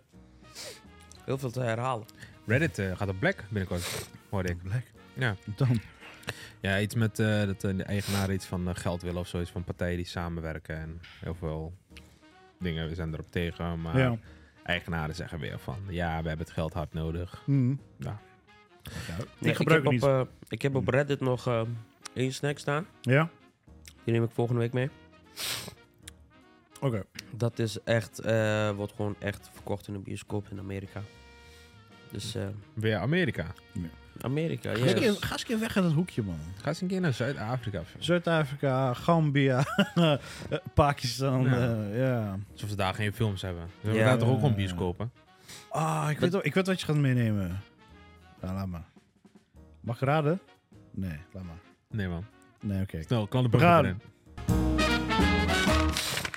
S8: heel veel te herhalen.
S7: Reddit eh, gaat op black binnenkort, hoorde ik.
S6: Black.
S7: Ja.
S6: Dan.
S7: Ja, iets met eh, dat eh, de eigenaar iets van eh, geld willen of zoiets van partijen die samenwerken en heel veel dingen. We zijn erop tegen,
S8: Ah.
S7: maar
S6: Ja.
S7: eigenaren zeggen weer van ja, we hebben het geld hard nodig.
S6: Mhm.
S7: Ja.
S6: Ja, ik
S8: Nee,
S6: gebruik
S8: ik
S6: het
S8: heb,
S6: niet.
S8: op, eh, ik heb op Reddit nog eh, één snack staan.
S6: ja?
S8: Die neem ik volgende week mee.
S6: Oké.
S8: Dat is echt, eh, wordt gewoon echt verkocht in de bioscoop in Amerika. Dus eh,
S7: Weer Amerika.
S8: Amerika,
S6: Ga eens een keer-
S8: yes.
S6: Ga eens een keer weg uit dat hoekje, man.
S7: Ga eens een keer naar Zuid-Afrika. of zo.
S6: Zuid-Afrika, Gambia, [laughs] eh, Pakistan,
S7: Ja.
S6: eh, ja.
S7: Alsof ze daar geen films hebben. We
S8: Ja.
S7: hebben daar toch ook gewoon bioscopen?
S6: Ah, ik weet, wel- ik weet wat je gaat meenemen. Ja, laat maar. Mag ik raden? Nee, laat maar.
S7: Nee man.
S6: Nee, oké.
S7: Snel, kan de
S6: We
S7: brug
S6: gaan.
S7: erin.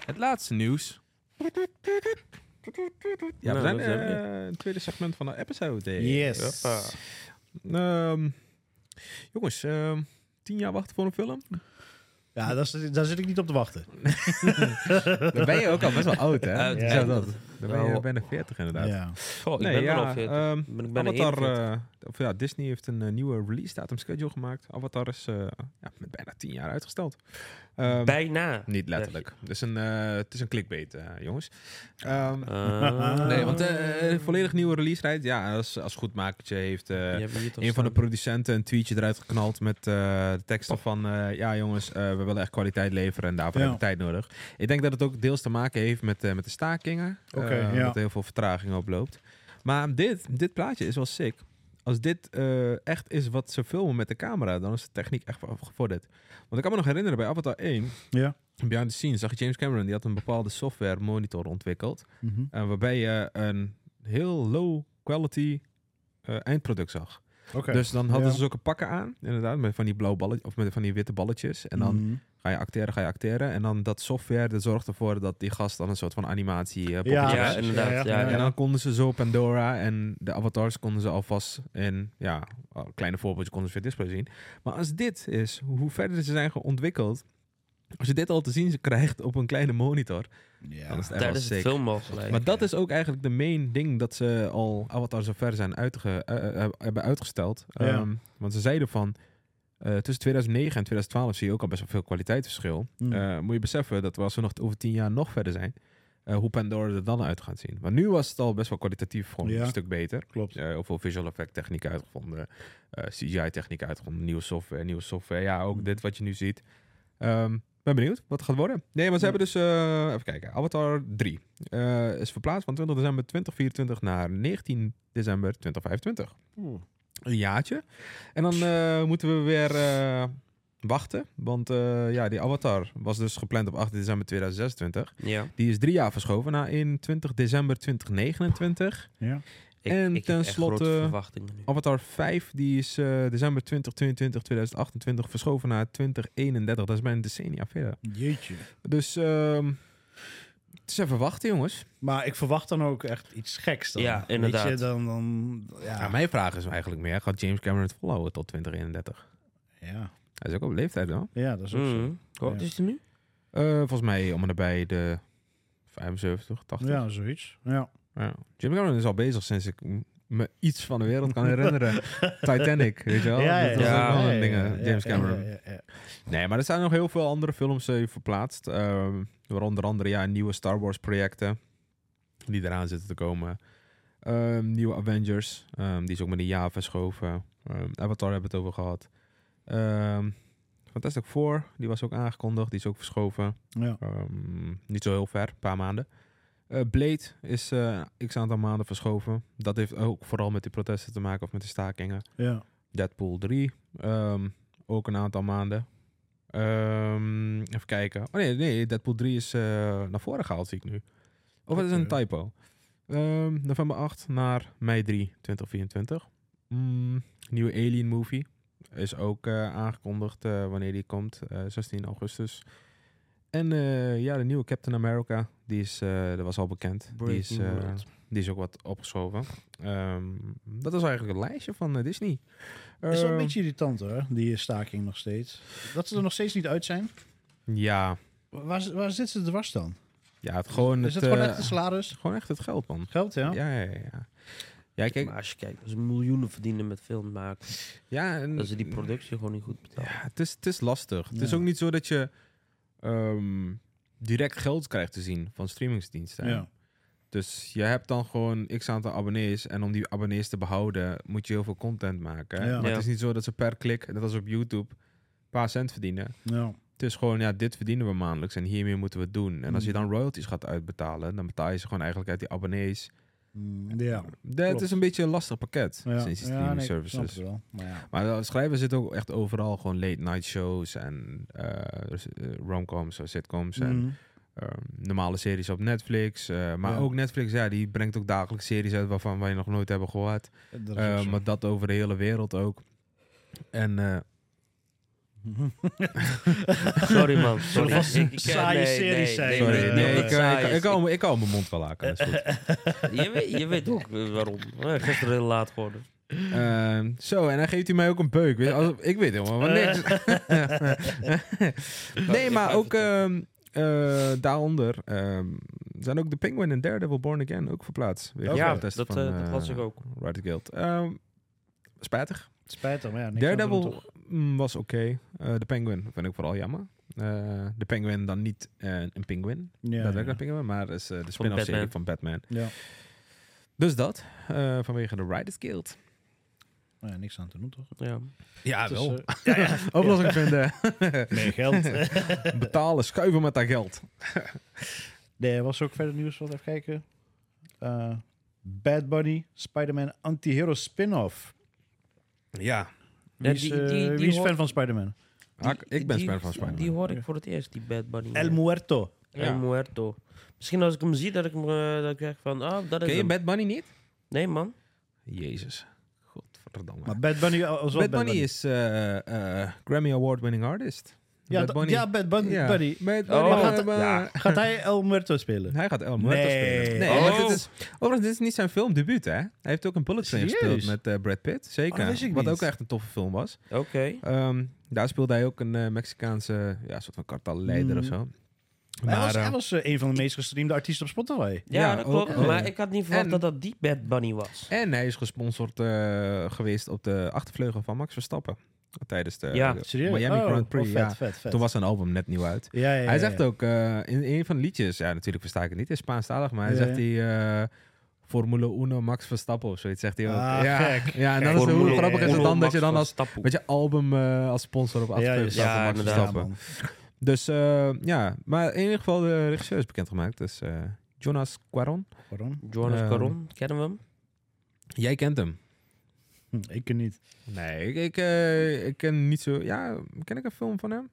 S7: Het laatste nieuws. Ja, we
S8: Nou,
S7: zijn eh,
S8: dat hebben we.
S7: in het tweede segment van de episode.
S6: Yes.
S8: Hoppa.
S7: Ehm, jongens, ehm, tien jaar wachten voor een
S8: [laughs]
S7: film?
S6: Ja, daar zit, daar zit ik niet op te wachten.
S7: Dan ben je ook al best wel oud, hè?
S8: Oud,
S6: ja.
S7: Zo dat. Dan ben je
S8: Nou,
S7: bijna 40 inderdaad.
S6: Ja.
S8: Goh, ik ben er al 40.
S7: ehm,
S8: Ik ben- ik ben er
S7: Avatar,
S8: 41.
S7: eh, of ja, Disney heeft een eh, nieuwe release datum schedule gemaakt. Avatar is eh, ja, met bijna 10 jaar uitgesteld. Ehm,
S8: Bijna.
S7: niet letterlijk. Dus een, eh, het is een clickbait, eh, jongens. Ehm,
S8: Eh,
S7: nee, want eh, een volledig nieuwe release rijdt. Ja, als, als goedmakertje heeft eh,
S8: je hebt hier toch
S7: een van de
S8: staan.
S7: producenten een tweetje eruit geknald met eh, de teksten van... eh, ja jongens, eh, we willen echt kwaliteit leveren en daarvoor
S6: Ja.
S7: hebben we tijd nodig. Ik denk dat het ook deels te maken heeft met, eh, met de stakingen.
S6: Oké,
S7: eh,
S6: ja.
S7: Dat heel veel vertraging oploopt. Maar dit, dit plaatje is wel sick. Als dit eh, echt is wat ze filmen met de camera, dan is de techniek echt wel gevorderd. Want ik kan me nog herinneren bij Avatar 1,
S6: Ja.
S7: behind the scenes, zag je James Cameron, die had een bepaalde software monitor ontwikkeld.
S6: Mhm.
S7: eh, waarbij je een heel low quality eh, eindproduct zag.
S6: Oké.
S7: Dus dan hadden
S6: Ja.
S7: ze zulke pakken aan, inderdaad, met van die blauwe balletjes of met van die witte balletjes. En dan
S6: Mhm.
S7: ga je acteren, ga je acteren. En dan dat software dat zorgt ervoor dat die gast dan een soort van animatie eh
S6: Ja,
S7: poppetje
S8: Ja,
S7: was.
S6: precies.
S8: inderdaad, ja,
S7: En dan konden ze zo Pandora en de avatars konden ze alvast in, ja, al- kleine voorbeeldjes konden ze via display zien. Maar als dit is, hoe verder ze zijn ontwikkeld, als je dit al te zien krijgt op een kleine monitor,
S6: Ja.
S7: dan is het echt wel
S8: Tijdens het
S7: eh, sick.
S8: filmogelijk.
S7: Maar dat is ook eigenlijk de main ding dat ze al Avatar zover zijn uitge, eh, eh, hebben uitgesteld.
S6: Ja.
S7: Ehm, want ze zeiden van, eh, tussen 2009 en 2012 zie je ook al best wel veel kwaliteitsverschil.
S6: Mm.
S7: Eh, moet je beseffen dat we als we nog over tien jaar nog verder zijn, eh, hoe Pandora er dan uit gaat zien. Want nu was het al best wel kwalitatief gewoon
S6: Ja.
S7: een stuk beter.
S6: Klopt.
S7: Eh, heel veel visual effect technieken uitgevonden, eh, CGI technieken uitgevonden, nieuwe software, nieuwe software. Ja, ook
S6: Mm.
S7: dit wat je nu ziet. Ehm, ben benieuwd wat het gaat worden. Nee, maar ze
S6: Ja.
S7: hebben dus, eh, even kijken, Avatar 3 eh, is verplaatst van 20 december 2024 naar 19 december 2025.
S6: Oeh.
S7: Een jaartje. En dan eh, moeten we weer eh, wachten, want eh, ja, die Avatar was dus gepland op 8 december 2026.
S8: Ja.
S7: Die is drie jaar verschoven naar 21 december 2029.
S6: Ja.
S8: Ik,
S7: En
S8: ik heb echt
S7: tenslotte-
S8: grote verwachtingen nu.
S7: Avatar 5 die is eh, december 2022, 2028 verschoven naar 2031. Dat is bijna een decennia verder.
S6: Jeetje.
S7: Dus ehm, het is even wachten, jongens.
S6: Maar ik verwacht dan ook echt iets geks dan.
S8: Ja,
S6: Weet
S8: inderdaad.
S6: je, dan... dan ja.
S7: Ja, mijn vraag is eigenlijk meer, gaat James Cameron het volhouden tot 2031?
S6: ja.
S7: Hij is ook op leeftijd, hoor.
S6: ja, dat is ook zo.
S8: Mhm. Hoe oud
S6: Ja.
S8: is hij nu?
S7: Eh, volgens mij om en nabij de 75, 80.
S6: Ja, zoiets. Ja.
S7: Ja. Jim Cameron is al bezig sinds ik m- me iets van de wereld kan
S6: [laughs]
S7: herinneren. Titanic, weet je wel? dat was
S8: ja.
S7: ook
S6: Ja,
S7: wel een
S6: ja,
S7: ding, eh,
S6: ja,
S7: James
S6: ja,
S7: Cameron.
S6: ja, ja, ja.
S7: Nee, maar er zijn nog heel veel andere films eh, verplaatst. ehm, waaronder andere ja, nieuwe Star Wars projecten die eraan zitten te komen. Ehm, nieuwe Avengers, ehm, die is ook met een jaar verschoven. Ehm, Avatar hebben we het over gehad. Ehm, Fantastic Four, die was ook aangekondigd, die is ook verschoven.
S6: Ja.
S7: Ehm, niet zo heel ver, een paar maanden. Eh, Blade is eh x aantal maanden verschoven. Dat heeft ook vooral met die protesten te maken of met de stakingen.
S6: Ja.
S7: Deadpool 3, ehm, ook een aantal maanden. Ehm, even kijken. Oh nee, nee, Deadpool 3 is eh, naar voren gehaald, zie ik nu. Of het is een
S6: Oké.
S7: typo. Ehm, november 8 naar mei 3, 2024. Mm, nieuwe Alien movie is ook eh, aangekondigd eh, wanneer die komt, eh, 16 augustus. En eh, ja, de nieuwe Captain America, die is, eh, dat was al bekend. Die is,
S8: Breaking
S7: eh,
S8: World.
S7: die is ook wat opgeschoven. Ehm, dat is eigenlijk het lijstje van eh, Disney.
S6: Is wel een
S7: Ehm,
S6: beetje irritant hoor, die staking nog steeds. Dat ze er nog steeds niet uit zijn.
S7: Ja,
S6: Waar, waar zit ze dwars dan?
S7: ja het, gewoon,
S6: Is
S7: het,
S6: het gewoon
S7: eh,
S6: echt de salaris?
S7: gewoon echt het geld, man.
S6: Geld, ja?
S7: Ja, ja, ja. ja. Ja, kijk, Mm.
S8: Maar als je kijkt, dat ze miljoenen verdienen met film maken.
S7: ja, en-
S8: Dat ze die productie gewoon niet
S7: [laughs]
S8: goed betalen.
S7: ja, het, is, het is lastig. Het is
S6: Ja.
S7: ook niet zo dat je ehm, direct geld krijgt te zien van streamingsdiensten.
S6: Ja.
S7: Dus je hebt dan gewoon x aantal abonnees. En om die abonnees te behouden, moet je heel veel content maken.
S6: Ja.
S7: Maar
S8: Ja.
S7: het is niet zo dat ze per klik, net als op YouTube, een paar cent verdienen.
S6: ja.
S7: Het is gewoon, ja, dit verdienen we maandelijks en hiermee moeten we het doen. En als
S6: Mm.
S7: je dan royalties gaat uitbetalen, dan betaal je ze gewoon eigenlijk uit die abonnees.
S6: Mm, ja.
S7: Ja, het
S6: Klopt.
S7: is een beetje een lastig pakket,
S6: Ja.
S7: sinds die
S6: Ja,
S7: streaming
S6: nee, ik snap
S7: services.
S6: het wel. Maar ja.
S7: Maar de schrijvers zitten ook echt overal. Gewoon late night shows en eh, dus, eh, romcoms of sitcoms en
S6: Mm.
S7: ehm, normale series op Netflix. eh, maar
S6: Ja.
S7: ook Netflix, ja, die brengt ook dagelijks series uit waarvan wij nog nooit hebben gehoord.
S6: Dat is ook
S7: Eh,
S6: zo. [laughs]
S7: maar dat over de hele wereld ook. En eh,
S8: Sorry man, sorry.
S6: vast
S8: Ik- ik-
S6: saaie series zijn,
S8: Nee,
S7: sorry,
S8: nee,
S7: nee,
S8: nee,
S7: ik, eh,
S8: saai
S7: ik,
S8: is-
S7: ik, hou, ik hou mijn mond wel laken. dat is goed.
S8: je, weet, je weet ook eh, waarom. Eh, Gisteren heel laat geworden.
S7: Ehm, zo, en dan geeft hij mij ook een beuk. Weet- als- ik weet helemaal van niks.
S6: Eh.
S7: [laughs] nee,
S8: Ik
S7: maar
S8: ga
S7: ook
S8: even
S7: ehm, eh, daaronder ehm, zijn ook de Penguin en Daredevil Born Again ook verplaatst. Weer
S8: Ja,
S7: protesten
S8: dat,
S7: van,
S8: eh, dat
S7: eh,
S8: was ik ook.
S7: Riot Guild. Ehm, spijtig.
S6: Spijt hem, maar ja. niks aan te doen,
S7: Daredevil
S6: toch?
S7: mm, was oké. Eh, de Penguin vind ik vooral jammer. Eh, de Penguin dan niet eh, een penguin.
S6: Ja,
S7: dat
S6: ja.
S7: werkt een penguin, maar is eh, de spin-off serie
S8: Batman.
S7: van Batman.
S6: Ja.
S7: Dus dat, eh, vanwege de Riot Guild.
S6: Maar ja, niks aan te doen, toch?
S8: Ja.
S7: Ja,
S6: Het is, eh, [laughs]
S7: Oplossing vinden.
S6: meer
S7: [laughs]
S6: geld.
S7: Betalen, schuiven met dat geld.
S6: nee, was er ook verder nieuws. Wat even kijken. Eh, Bad Bunny, Spider-Man anti-hero spin-off.
S7: Ja.
S8: Ja,
S6: Wie is,
S8: die-
S6: eh,
S8: die- die
S6: wie is
S8: hoor-
S6: fan van Spider-Man?
S7: Hak-
S8: Die-
S7: ik ben
S8: die-
S7: fan van Spider-Man.
S8: Die hoor ik voor het eerst, die Bad Bunny.
S6: El Muerto.
S8: El
S7: Ja.
S8: Muerto. Misschien als ik hem zie, dat ik, hem, eh, dat ik zeg van, ah, dat is
S7: Ken je
S8: hem.
S7: Bad Bunny niet?
S8: Nee man.
S7: Jezus. Godverdamme.
S6: Maar Bad Bunny als
S7: Bad, Bunny is eh, eh, Grammy Award winning artist.
S6: Ja,
S7: Bad
S6: da-
S7: Bunny.
S6: ja, Bad Bun-
S7: Ja.
S6: Bunny.
S7: Bad Bunny.
S8: Oh,
S7: eh,
S6: gaat-
S7: maar-
S8: ja.
S6: Gaat hij El Muerto
S7: [laughs]
S6: spelen?
S7: Hij gaat El Muerto
S6: Nee.
S7: spelen. Nee,
S6: Oh.
S7: maar dit is, overigens, dit is niet zijn filmdebuut, hè? Hij heeft ook een Bullet Train
S6: Serieus?
S7: gespeeld met eh, Brad Pitt.
S6: Oh,
S7: Zeker.
S6: dat wist ik
S7: Wat
S6: niet.
S7: ook echt een toffe film was.
S8: Oké.
S7: Ehm, daar speelde hij ook een eh, Mexicaanse ja, soort van kartelleider
S6: Mm.
S7: of zo.
S6: hij was,
S7: eh,
S6: hij was eh, een van de meest gestreamde artiesten op Spotify.
S8: Ja,
S7: Ja,
S8: dat
S7: ook-
S8: klopt.
S7: ook.
S8: Maar ik had niet verwacht
S7: En-
S8: dat dat die Bad Bunny was.
S7: En hij is gesponsord eh, geweest op de achtervleugel van Max Verstappen. Tijdens de
S8: Ja,
S7: de
S6: Serieus?
S7: Miami
S6: Oh,
S7: Grand Prix.
S6: oh,
S7: ja.
S6: vet, vet, vet.
S7: Toen was zijn album net nieuw uit.
S6: ja, ja, ja,
S7: hij
S6: ja.
S7: zegt ook eh, in een van de liedjes, ja natuurlijk versta ik het niet in Spaanstalig, maar hij
S6: Ja,
S7: zegt hij eh, Formule 1 Max Verstappen of zoiets. Zegt hij ook.
S6: Ah,
S7: ja,
S6: gek.
S7: ja, en dan is het,
S8: Formule
S7: hoe grappig is het
S8: Uno,
S7: dan dat
S8: Max
S7: je dan
S8: van
S7: als,
S8: Stappen.
S7: met je album eh, als sponsor op
S6: Ja,
S7: achtervleugel
S6: ja,
S7: staat van
S8: ja,
S7: Max
S8: inderdaad,
S7: Verstappen.
S6: man.
S7: dus eh, ja, maar in ieder geval de regisseur is bekendgemaakt. Dus eh, Jonas Quaron.
S6: Waarom?
S8: Jonas
S7: Ehm,
S8: Caron, kennen we hem?
S7: Jij kent hem.
S6: Hm, ik ken niet.
S7: Nee, ik, ik, eh, ik ken niet zo... Ja, ken ik een film van hem?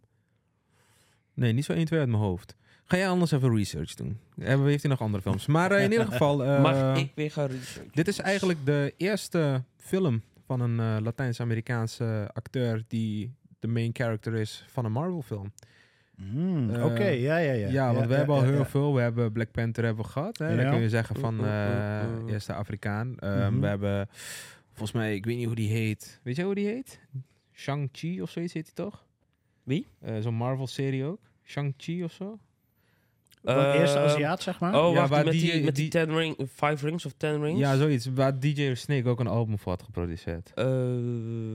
S7: Nee, niet zo 1, 2 uit mijn hoofd. Ga jij anders even research doen? Hebben, heeft hij nog andere films? Maar eh, in
S8: [laughs]
S7: ieder geval... eh,
S8: Mag ik weer gaan researchen?
S7: Dit is eigenlijk de eerste film van een eh, Latijns-Amerikaanse acteur... die de main character is van een Marvel-film.
S6: Hmm,
S7: Eh,
S6: Oké, ja, ja, ja.
S7: Ja, want we hebben
S6: ja,
S7: al
S6: ja,
S7: heel
S6: ja.
S7: veel. We hebben Black Panther hebben we gehad. Hè?
S6: Ja.
S7: Dan kun je zeggen van
S8: Mm, mm,
S7: eh,
S8: mm, mm.
S7: eerste Afrikaan. Ehm,
S6: Mhm.
S7: We hebben volgens mij, ik weet niet hoe die heet. Weet jij hoe die heet? Shang-Chi of zoiets heet hij toch?
S8: Wie?
S7: Eh, Zo'n Marvel-serie ook. Shang-Chi of zo?
S6: Van
S8: Eh,
S6: eerste Aziat, zeg maar.
S8: Oh,
S7: Ja,
S8: wacht,
S7: waar
S8: met die,
S7: die-
S8: met die,
S7: die-
S8: ten ring, Five Rings of Ten Rings?
S7: Ja, zoiets. Waar DJ Snake ook een album voor had geproduceerd.
S8: Eh,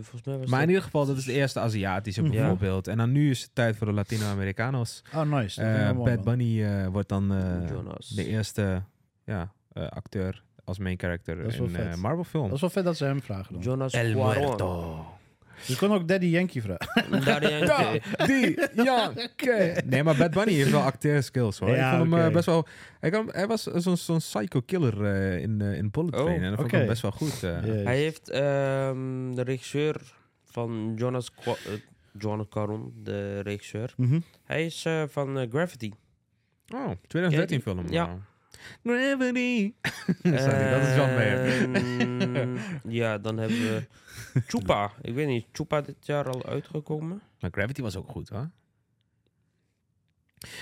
S8: volgens mij
S7: Maar
S8: was
S7: in
S8: dat...
S7: ieder geval, dat is de eerste Aziatische
S8: Mhm.
S7: bijvoorbeeld. En dan nu is het tijd voor de Latino-Americanos.
S6: Oh, nice. Dat
S7: Eh,
S6: vind ik wel mooi,
S7: Bad
S6: man.
S7: Bunny eh, wordt dan eh,
S8: Jonas.
S7: de eerste ja, eh, acteur als main character
S6: Dat is
S7: in eh,
S6: wel
S7: een
S6: vet.
S7: Marvel
S6: Dat
S7: film.
S6: is wel vet dat ze hem vragen dan.
S8: Jonas Cuarón.
S6: Je kon ook Daddy Yankee vragen.
S8: Daar die-
S7: die,
S6: [laughs]
S7: ja, Nee, maar Bad Bunny heeft wel acteerskills hoor.
S6: Ja,
S7: ik vond hem eh,
S6: oké.
S7: best wel... Hij, kan, hij was zo'n zo'n psycho killer eh, in, eh, in Bullet
S8: Oh,
S7: Train. En dat vond ik
S6: oké.
S7: hem best wel goed. eh.
S6: [laughs] Jezus.
S8: Hij heeft ehm, de regisseur van Jonas Qua eh, Jonas Cuarón, de regisseur.
S6: Mhm.
S8: Hij is eh, van eh, Gravity.
S7: Oh, 2013
S8: Ja, die-
S7: film.
S8: ja.
S7: wauw. Gravity. [laughs] Sorry, [laughs] dat is John
S6: Eh.
S7: Mayer.
S8: Ehm, ja, dan hebben
S7: [laughs]
S8: we Chupa. Ik weet niet, Chupa dit jaar al uitgekomen?
S7: Maar Gravity was ook goed, hoor.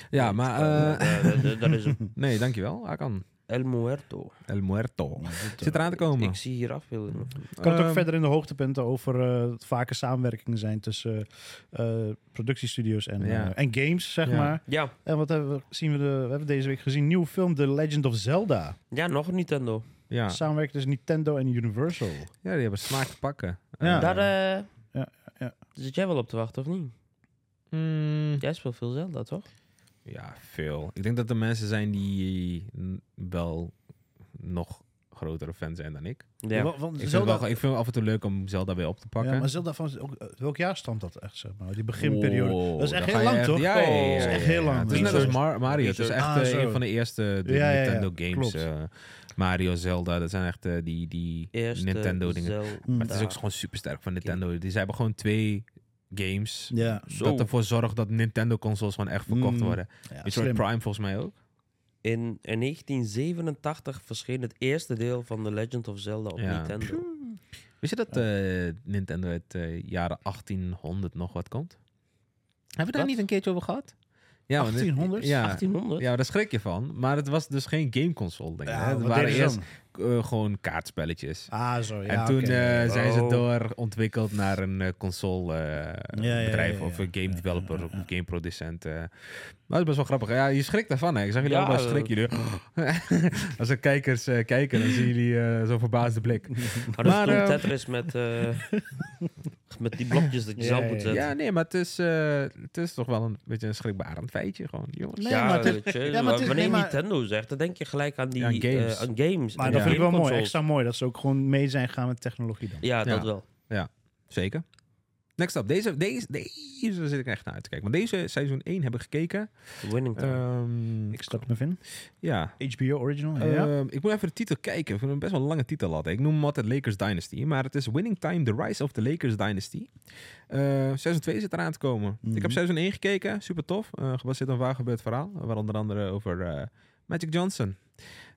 S7: Ja, maar... eh,
S8: Eh, dat- dat- dat is hem.
S7: [laughs] nee, dankjewel. Akan.
S8: El Muerto.
S7: El Muerto.
S6: Goed, eh.
S7: Zit eraan te komen.
S8: Ik zie hier afbeeldingen.
S6: kan het ook
S7: Ehm,
S6: verder in de hoogtepunten over eh vaker samenwerkingen zijn tussen eh, eh, productiestudio's en,
S7: Ja.
S6: eh, en games, zeg
S7: Ja.
S6: maar.
S8: Ja,
S6: En wat hebben we, zien we, de, we hebben deze week gezien? Nieuwe film The Legend of Zelda.
S8: ja, nog een Nintendo.
S7: Ja.
S6: Samenwerken tussen Nintendo en Universal.
S7: ja, die hebben smaak te pakken.
S6: Ja.
S8: Daar
S7: Eh,
S8: eh,
S6: ja, ja.
S8: zit jij wel op te wachten, of niet?
S7: mm,
S8: Jij speelt veel Zelda, toch?
S7: ja, veel. Ik denk dat er mensen zijn die mm, wel nog grotere fan zijn dan ik.
S8: Ja.
S6: Wa- Want
S7: Ik vind,
S6: Zelda,
S7: wel, ik vind het af en toe leuk om Zelda weer op te pakken.
S6: ja, maar Zelda van ook, eh, welk jaar stamt dat echt, zeg maar? Die beginperiode.
S7: Wow,
S6: dat is echt
S7: dan
S6: heel
S7: ga
S6: lang,
S7: je
S6: toch?
S7: Ja, ja, ja,
S8: Oh.
S7: ja,
S8: Dat is
S7: ja,
S6: echt heel
S7: ja.
S6: lang.
S7: Het is net als
S6: Research.
S7: Mar- Mario. Het is echt
S6: Ah,
S7: eh,
S6: zo.
S7: een van de eerste de
S6: Ja, ja, ja.
S7: Nintendo games.
S6: Klopt.
S7: eh, Mario, Zelda, dat zijn echt eh, die, die
S8: Eerste
S7: Nintendo dingen.
S8: Zelda.
S7: Maar het is ook gewoon super sterk van Nintendo. Die ze hebben gewoon twee games
S6: Ja,
S7: dat ervoor zorgt dat Nintendo consoles gewoon echt verkocht
S6: Mm,
S7: worden.
S6: ja
S7: Metroid
S6: slim.
S7: Prime volgens mij ook.
S8: In, in 1987 verscheen het eerste deel van The Legend of Zelda op
S7: Ja.
S8: Nintendo.
S7: Wist je dat eh, Nintendo uit de jaren 1800 nog wat komt? Hebben we daar
S8: Wat?
S7: niet een keertje over gehad? Ja, want-
S6: 1800?
S7: Ja,
S8: 1800?
S7: Ja, daar schrik je van. Maar het was dus geen gameconsole, denk ik.
S6: Ja,
S7: hè. het
S6: wat
S7: waren
S6: deden ze
S7: eerst
S6: dan?
S7: eh, gewoon kaartspelletjes.
S6: Ah, zo, ja.
S7: en toen
S6: oké.
S7: eh, zijn ze
S8: Oh.
S7: door ontwikkeld naar een eh, console eh,
S6: Ja, ja,
S7: bedrijf
S6: ja, ja,
S7: of
S6: ja.
S7: een game developer of game producent. eh. Maar dat is best wel grappig. Ja, je schrikt daarvan. Hè. Ik zag jullie
S8: Ja,
S7: allemaal schrik jullie.
S6: [gasps]
S7: [laughs] Als er kijkers eh, kijken, dan zien jullie eh, zo'n verbaasde blik.
S8: Maar dat is
S7: Maar,
S8: toen
S7: eh,
S8: Tetris
S7: [laughs]
S8: met, eh, met die blokjes dat je
S6: Ja,
S8: zelf
S6: ja,
S8: moet
S6: ja.
S8: zetten.
S7: Ja, nee, maar het is, eh, het is toch wel een beetje een schrikbarend feitje gewoon, jongens.
S6: Nee,
S8: Ja,
S6: maar het is-
S8: weet je,
S6: ja, maar het is-
S8: wanneer
S6: nee, maar-
S8: Nintendo zegt, dan denk je gelijk aan die
S7: Ja, aan
S8: eh,
S7: games.
S8: aan games.
S6: Maar
S8: en
S6: dat vind ik wel mooi.
S8: gameconsoles.
S6: Extra mooi dat ze ook gewoon mee zijn gaan met technologie dan.
S8: Ja,
S7: Ja.
S8: dat wel.
S7: Zeker. Next up. Deze, deze, deze daar zit ik echt naar uit te kijken. Want deze seizoen 1 heb ik gekeken.
S8: Winning time.
S7: Ehm,
S6: Ik stap me in.
S7: ja.
S6: HBO Original. ja.
S7: Ehm, ik moet even de titel kijken. Ik vind hem best wel een lange titel hadden. Ik noem hem altijd Lakers Dynasty. Maar het is Winning Time, The Rise of the Lakers Dynasty. Eh seizoen 2 zit eraan te komen.
S6: Mhm.
S7: Ik heb seizoen 1 gekeken. Super tof. Eh, gebaseerd op een waar gebeurd verhaal. Waar onder andere over eh, Magic Johnson.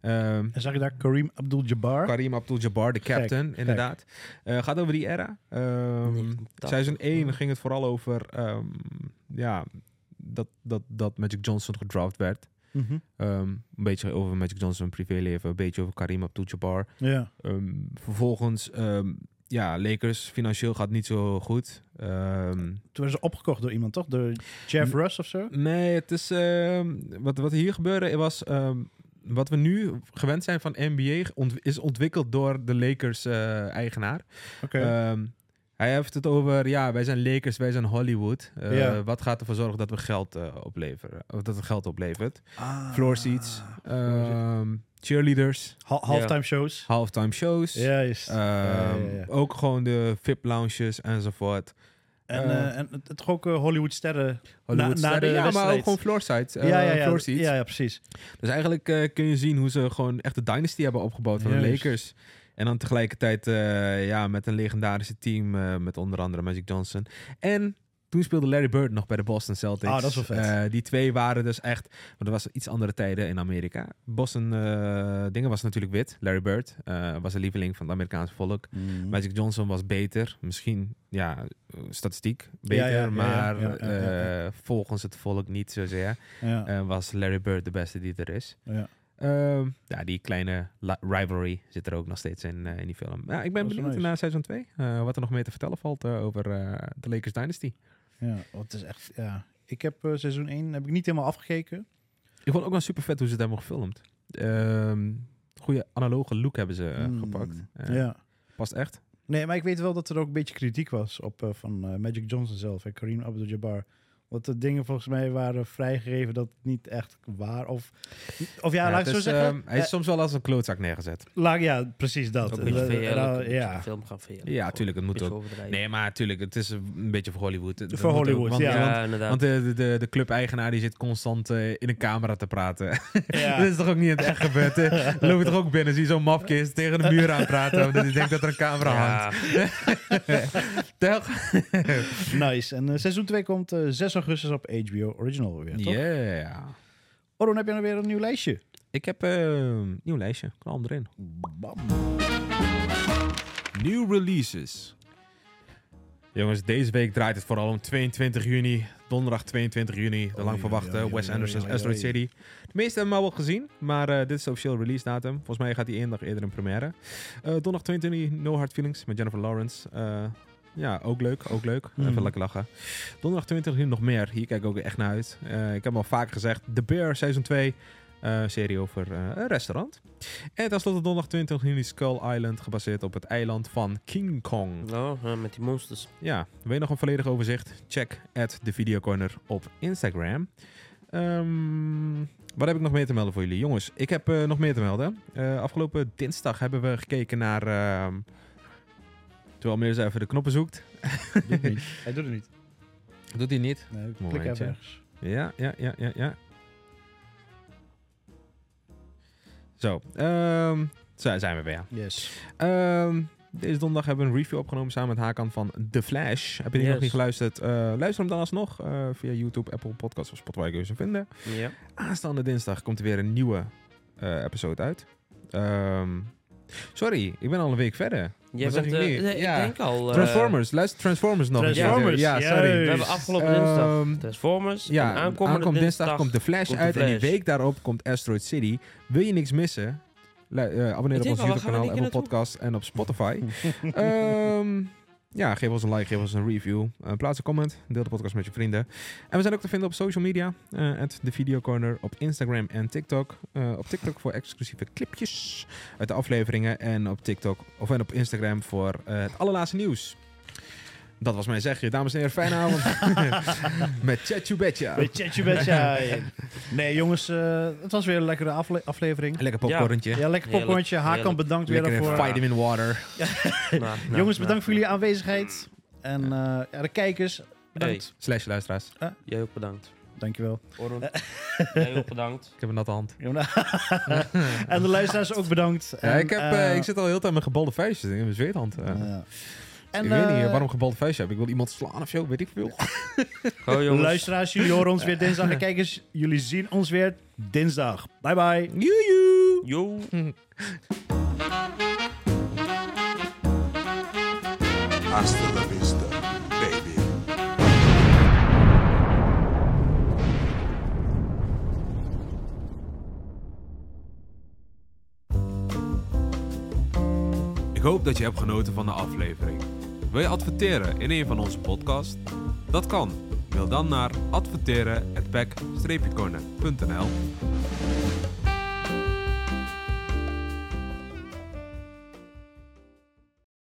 S7: Ehm,
S6: En zag je daar Kareem Abdul-Jabbar?
S7: Karim Abdul-Jabbar, de captain, inderdaad. Eh, gaat over die era. Ehm,
S8: 1980.
S7: seizoen 1 ging het vooral over ehm, ja, dat, dat, dat Magic Johnson gedraft werd.
S6: Mhm.
S7: Ehm, een beetje over Magic Johnson privéleven, een beetje over Karim Abdul-Jabbar.
S6: Ja.
S7: Ehm, vervolgens, ehm, ja, Lakers financieel gaat niet zo goed. Ehm,
S6: Toen werden ze opgekocht door iemand, toch? Door Jeff Russ of zo?
S7: nee, het is ehm, wat, wat hier gebeurde was ehm, wat we nu gewend zijn van NBA ont- is ontwikkeld door de Lakers eh, eigenaar.
S6: Oké.
S7: Ehm, hij heeft het over, ja, wij zijn Lakers, wij zijn Hollywood. Eh,
S6: Ja.
S7: Wat gaat ervoor zorgen dat we geld eh, opleveren? Of dat het geld oplevert?
S6: Ah.
S7: Floor seats, ehm, cheerleaders,
S6: Ha- halftime shows.
S7: halftime shows.
S6: Ja, juist.
S7: ehm,
S6: Ja, ja, ja.
S7: Ook gewoon de VIP-lounges enzovoort.
S6: En,
S7: eh,
S6: eh, en het, het ook Hollywood sterren.
S7: Hollywood
S6: na
S7: sterren,
S6: de
S7: ja, maar
S6: wedstrijd.
S7: ook gewoon floor sites. eh,
S6: ja, ja, ja,
S7: floor seats.
S6: ja, ja, precies.
S7: Dus eigenlijk eh, kun je zien hoe ze gewoon echt de dynasty hebben opgebouwd van de
S6: Juist.
S7: Lakers. En dan tegelijkertijd eh, ja, met een legendarische team eh, met onder andere Magic Johnson. En toen speelde Larry Bird nog bij de Boston Celtics.
S6: Ah, dat is wel vet.
S7: Eh, die twee waren dus echt... Want er was iets andere tijden in Amerika. Boston eh, dingen was natuurlijk wit. Larry Bird eh, was een lieveling van het Amerikaanse volk. Magic Johnson was beter. Misschien, ja, eh, statistiek beter.
S6: ja, ja, ja,
S7: maar
S6: ja, ja, ja.
S7: eh, volgens het volk niet zozeer.
S6: Ja,
S7: Eh, was Larry Bird de beste die er is.
S6: ja.
S7: Ehm, ja, die kleine la- rivalry zit er ook nog steeds in, eh, in die film. Ja, ik ben
S6: Dat is
S7: benieuwd
S6: nice.
S7: naar seizoen 2. wat er nog meer te vertellen valt eh, over eh, de eh, Lakers Dynasty.
S6: ja. Want het is echt, ja. Ik heb eh, seizoen 1 heb ik niet helemaal afgekeken.
S7: Ik vond ook wel super vet hoe ze het hebben gefilmd. Ehm goede analoge look hebben ze eh,
S6: Hmm.
S7: gepakt. Eh,
S6: Ja.
S7: Past echt.
S6: Nee, maar ik weet wel dat er ook een beetje kritiek was op eh, van eh, Magic Johnson zelf en Kareem Abdul-Jabbar. Want de dingen volgens mij waren vrijgegeven dat het niet echt waar of of ja,
S7: Ja,
S6: laat
S7: het
S6: ik zo
S7: is,
S6: zeggen.
S7: ehm, hij is
S6: Eh,
S7: soms wel als een klootzak neergezet.
S6: laat- ja, precies dat.
S7: Ook
S8: Een
S7: een
S8: beetje
S6: Eh,
S8: verheerlijk,
S6: nou,
S8: een beetje
S6: ja.
S8: film gaan verheerlijken.
S7: Ja, tuurlijk, het moet
S8: Beetje
S7: ook.
S8: overdrijven.
S7: Nee, maar natuurlijk, het is een beetje voor Hollywood. Dat
S6: Voor
S7: moet ook,
S6: Hollywood,
S7: want-
S6: ja.
S7: want-
S8: ja, inderdaad.
S7: Want de, de- de, de club-eigenaar die zit constant eh, in een camera te praten. [laughs] dat
S6: Ja.
S7: is toch ook niet in het echt
S6: [laughs]
S7: gebeurd? hè? Dan Loopt er ook binnen, zie je zo'n mafkist tegen de muur aan praten. Omdat hij denkt dat er een camera hangt.
S8: ja,
S7: Toch?
S6: [laughs] nice. En eh, seizoen 2 komt eh, 6 augustus op HBO Original weer, toch?
S7: Yeah.
S6: Oh, dan heb je nou weer een nieuw
S7: [laughs]
S6: lijstje.
S7: Ik heb eh, een nieuw lijstje. Knal hem erin.
S5: New releases.
S7: Jongens, deze week draait het vooral om 22 juni. Donderdag 22 juni. De lang verwachte
S6: oei, oei,
S7: Wes
S6: oei,
S7: Anderson's
S6: oei,
S7: Asteroid
S6: oei.
S7: City. De meeste hebben hem al wel gezien, maar eh, dit is de officiële release datum. Volgens mij gaat hij één dag eerder in première. Eh, donderdag 22 juni, No Hard Feelings met Jennifer Lawrence. Eh, ja, ook leuk, ook leuk.
S6: Mhm.
S7: Even lekker lachen. Donderdag 20 juni nog meer. Hier kijk ik ook echt naar uit. Eh, ik heb hem al vaker gezegd. The Bear, seizoen 2. eh, serie over eh, een restaurant. En tenslotte donderdag 20 juni Skull Island, gebaseerd op het eiland van King Kong.
S8: nou, eh, met die monsters.
S7: Ja, wil je nog een volledig overzicht? Check at de Videocorner op Instagram. Ehm, wat heb ik nog meer te melden voor jullie? Jongens, ik heb eh, nog meer te melden. Eh, afgelopen dinsdag hebben we gekeken naar... ehm, terwijl Meers even de knoppen zoekt.
S6: Doet niet. Hij doet het niet.
S7: Doet hij niet.
S6: Nee, klik
S7: Momentje.
S6: even ergens.
S7: Ja, ja, ja, ja, ja. Zo, ehm, zo zijn we weer.
S6: Yes.
S7: Ehm, deze donderdag hebben we een review opgenomen samen met Hakan van The Flash. Heb je die
S8: Yes.
S7: nog niet geluisterd? Eh, luister hem dan alsnog eh, via YouTube, Apple Podcasts of Spotify kun je ze vinden.
S8: Ja.
S7: Aanstaande dinsdag komt er weer een nieuwe eh, episode uit. Ehm, sorry, ik ben al een week verder.
S8: Jij
S7: Wat zeg
S8: bent,
S7: ik
S8: eh,
S7: nu?
S8: nee,
S7: Ja.
S8: Ik denk al... eh,
S7: Transformers, luister Transformers nog. een keer.
S6: Transformers,
S7: Ja,
S8: We
S7: sorry.
S6: juist.
S8: hebben afgelopen dinsdag
S7: Ehm,
S8: Transformers.
S7: ja,
S8: en Dus aankomende dinsdag,
S7: komt The Flash
S8: komt The
S7: uit en die
S8: Flash.
S7: week daarop komt Asteroid City. Wil je niks missen? Lu- eh, abonneer
S8: Ik
S7: op
S8: denk
S7: ons
S8: al, waar gaan we
S7: YouTube-kanaal,
S8: die
S7: Apple
S8: keer
S7: Podcast en op
S8: [laughs]
S7: Spotify. Ehm, ja, geef ons een like, geef ons een review. eh, plaats een comment, deel de podcast met je vrienden. En we zijn ook te vinden op social media. eh at The Video Corner op Instagram en TikTok. Eh, op TikTok voor exclusieve clipjes uit de afleveringen. En op TikTok of en op Instagram voor eh, het allerlaatste nieuws. Dat was mijn zegje. Dames en heren,
S6: [laughs]
S7: fijne avond. [laughs] met Chatju Betja.
S6: Weet je, je bent jij. Nee, jongens, eh, het was weer een lekkere afle- aflevering.
S7: Lekker popcorntje.
S6: Ja, lekker
S8: Heerlijk,
S6: popcornje. Hakan,
S8: heerlijk.
S6: bedankt weer eh,
S7: Lekker
S6: daarvoor.
S7: vitamin water.
S6: [laughs]
S8: Nou, nou,
S6: Jongens,
S8: nou,
S6: bedankt voor jullie aanwezigheid. En eh, ja, de kijkers, bedankt.
S7: Slash luisteraars.
S8: Jij ook bedankt.
S6: Dankjewel.
S8: Oron, jij ook bedankt.
S7: Ik heb een natte
S6: [laughs]
S7: hand.
S6: en de luisteraars ook bedankt.
S7: Ja,
S6: En,
S7: ik, heb, eh,
S6: eh,
S7: ik zit al heel de tijd met gebalde vuistjes. Ik heb een zweethand. eh.
S6: ja. En,
S7: ik weet niet
S6: eh,
S7: eh, waarom gebalde vuistjes heb. Ik wil iemand slaan of zo. Weet ik
S6: [laughs]
S7: veel.
S8: Go jongens.
S6: Luisteraars, jullie horen ons weer dinsdag. En kijkers, jullie zien ons weer dinsdag. Bye bye.
S7: Joejoe.
S8: Yo.
S4: Hasta la vista, baby.
S5: Ik hoop dat je hebt genoten van de aflevering. Wil je adverteren in een van onze podcasts? Dat kan. Mail dan naar adverteren@back-corner.nl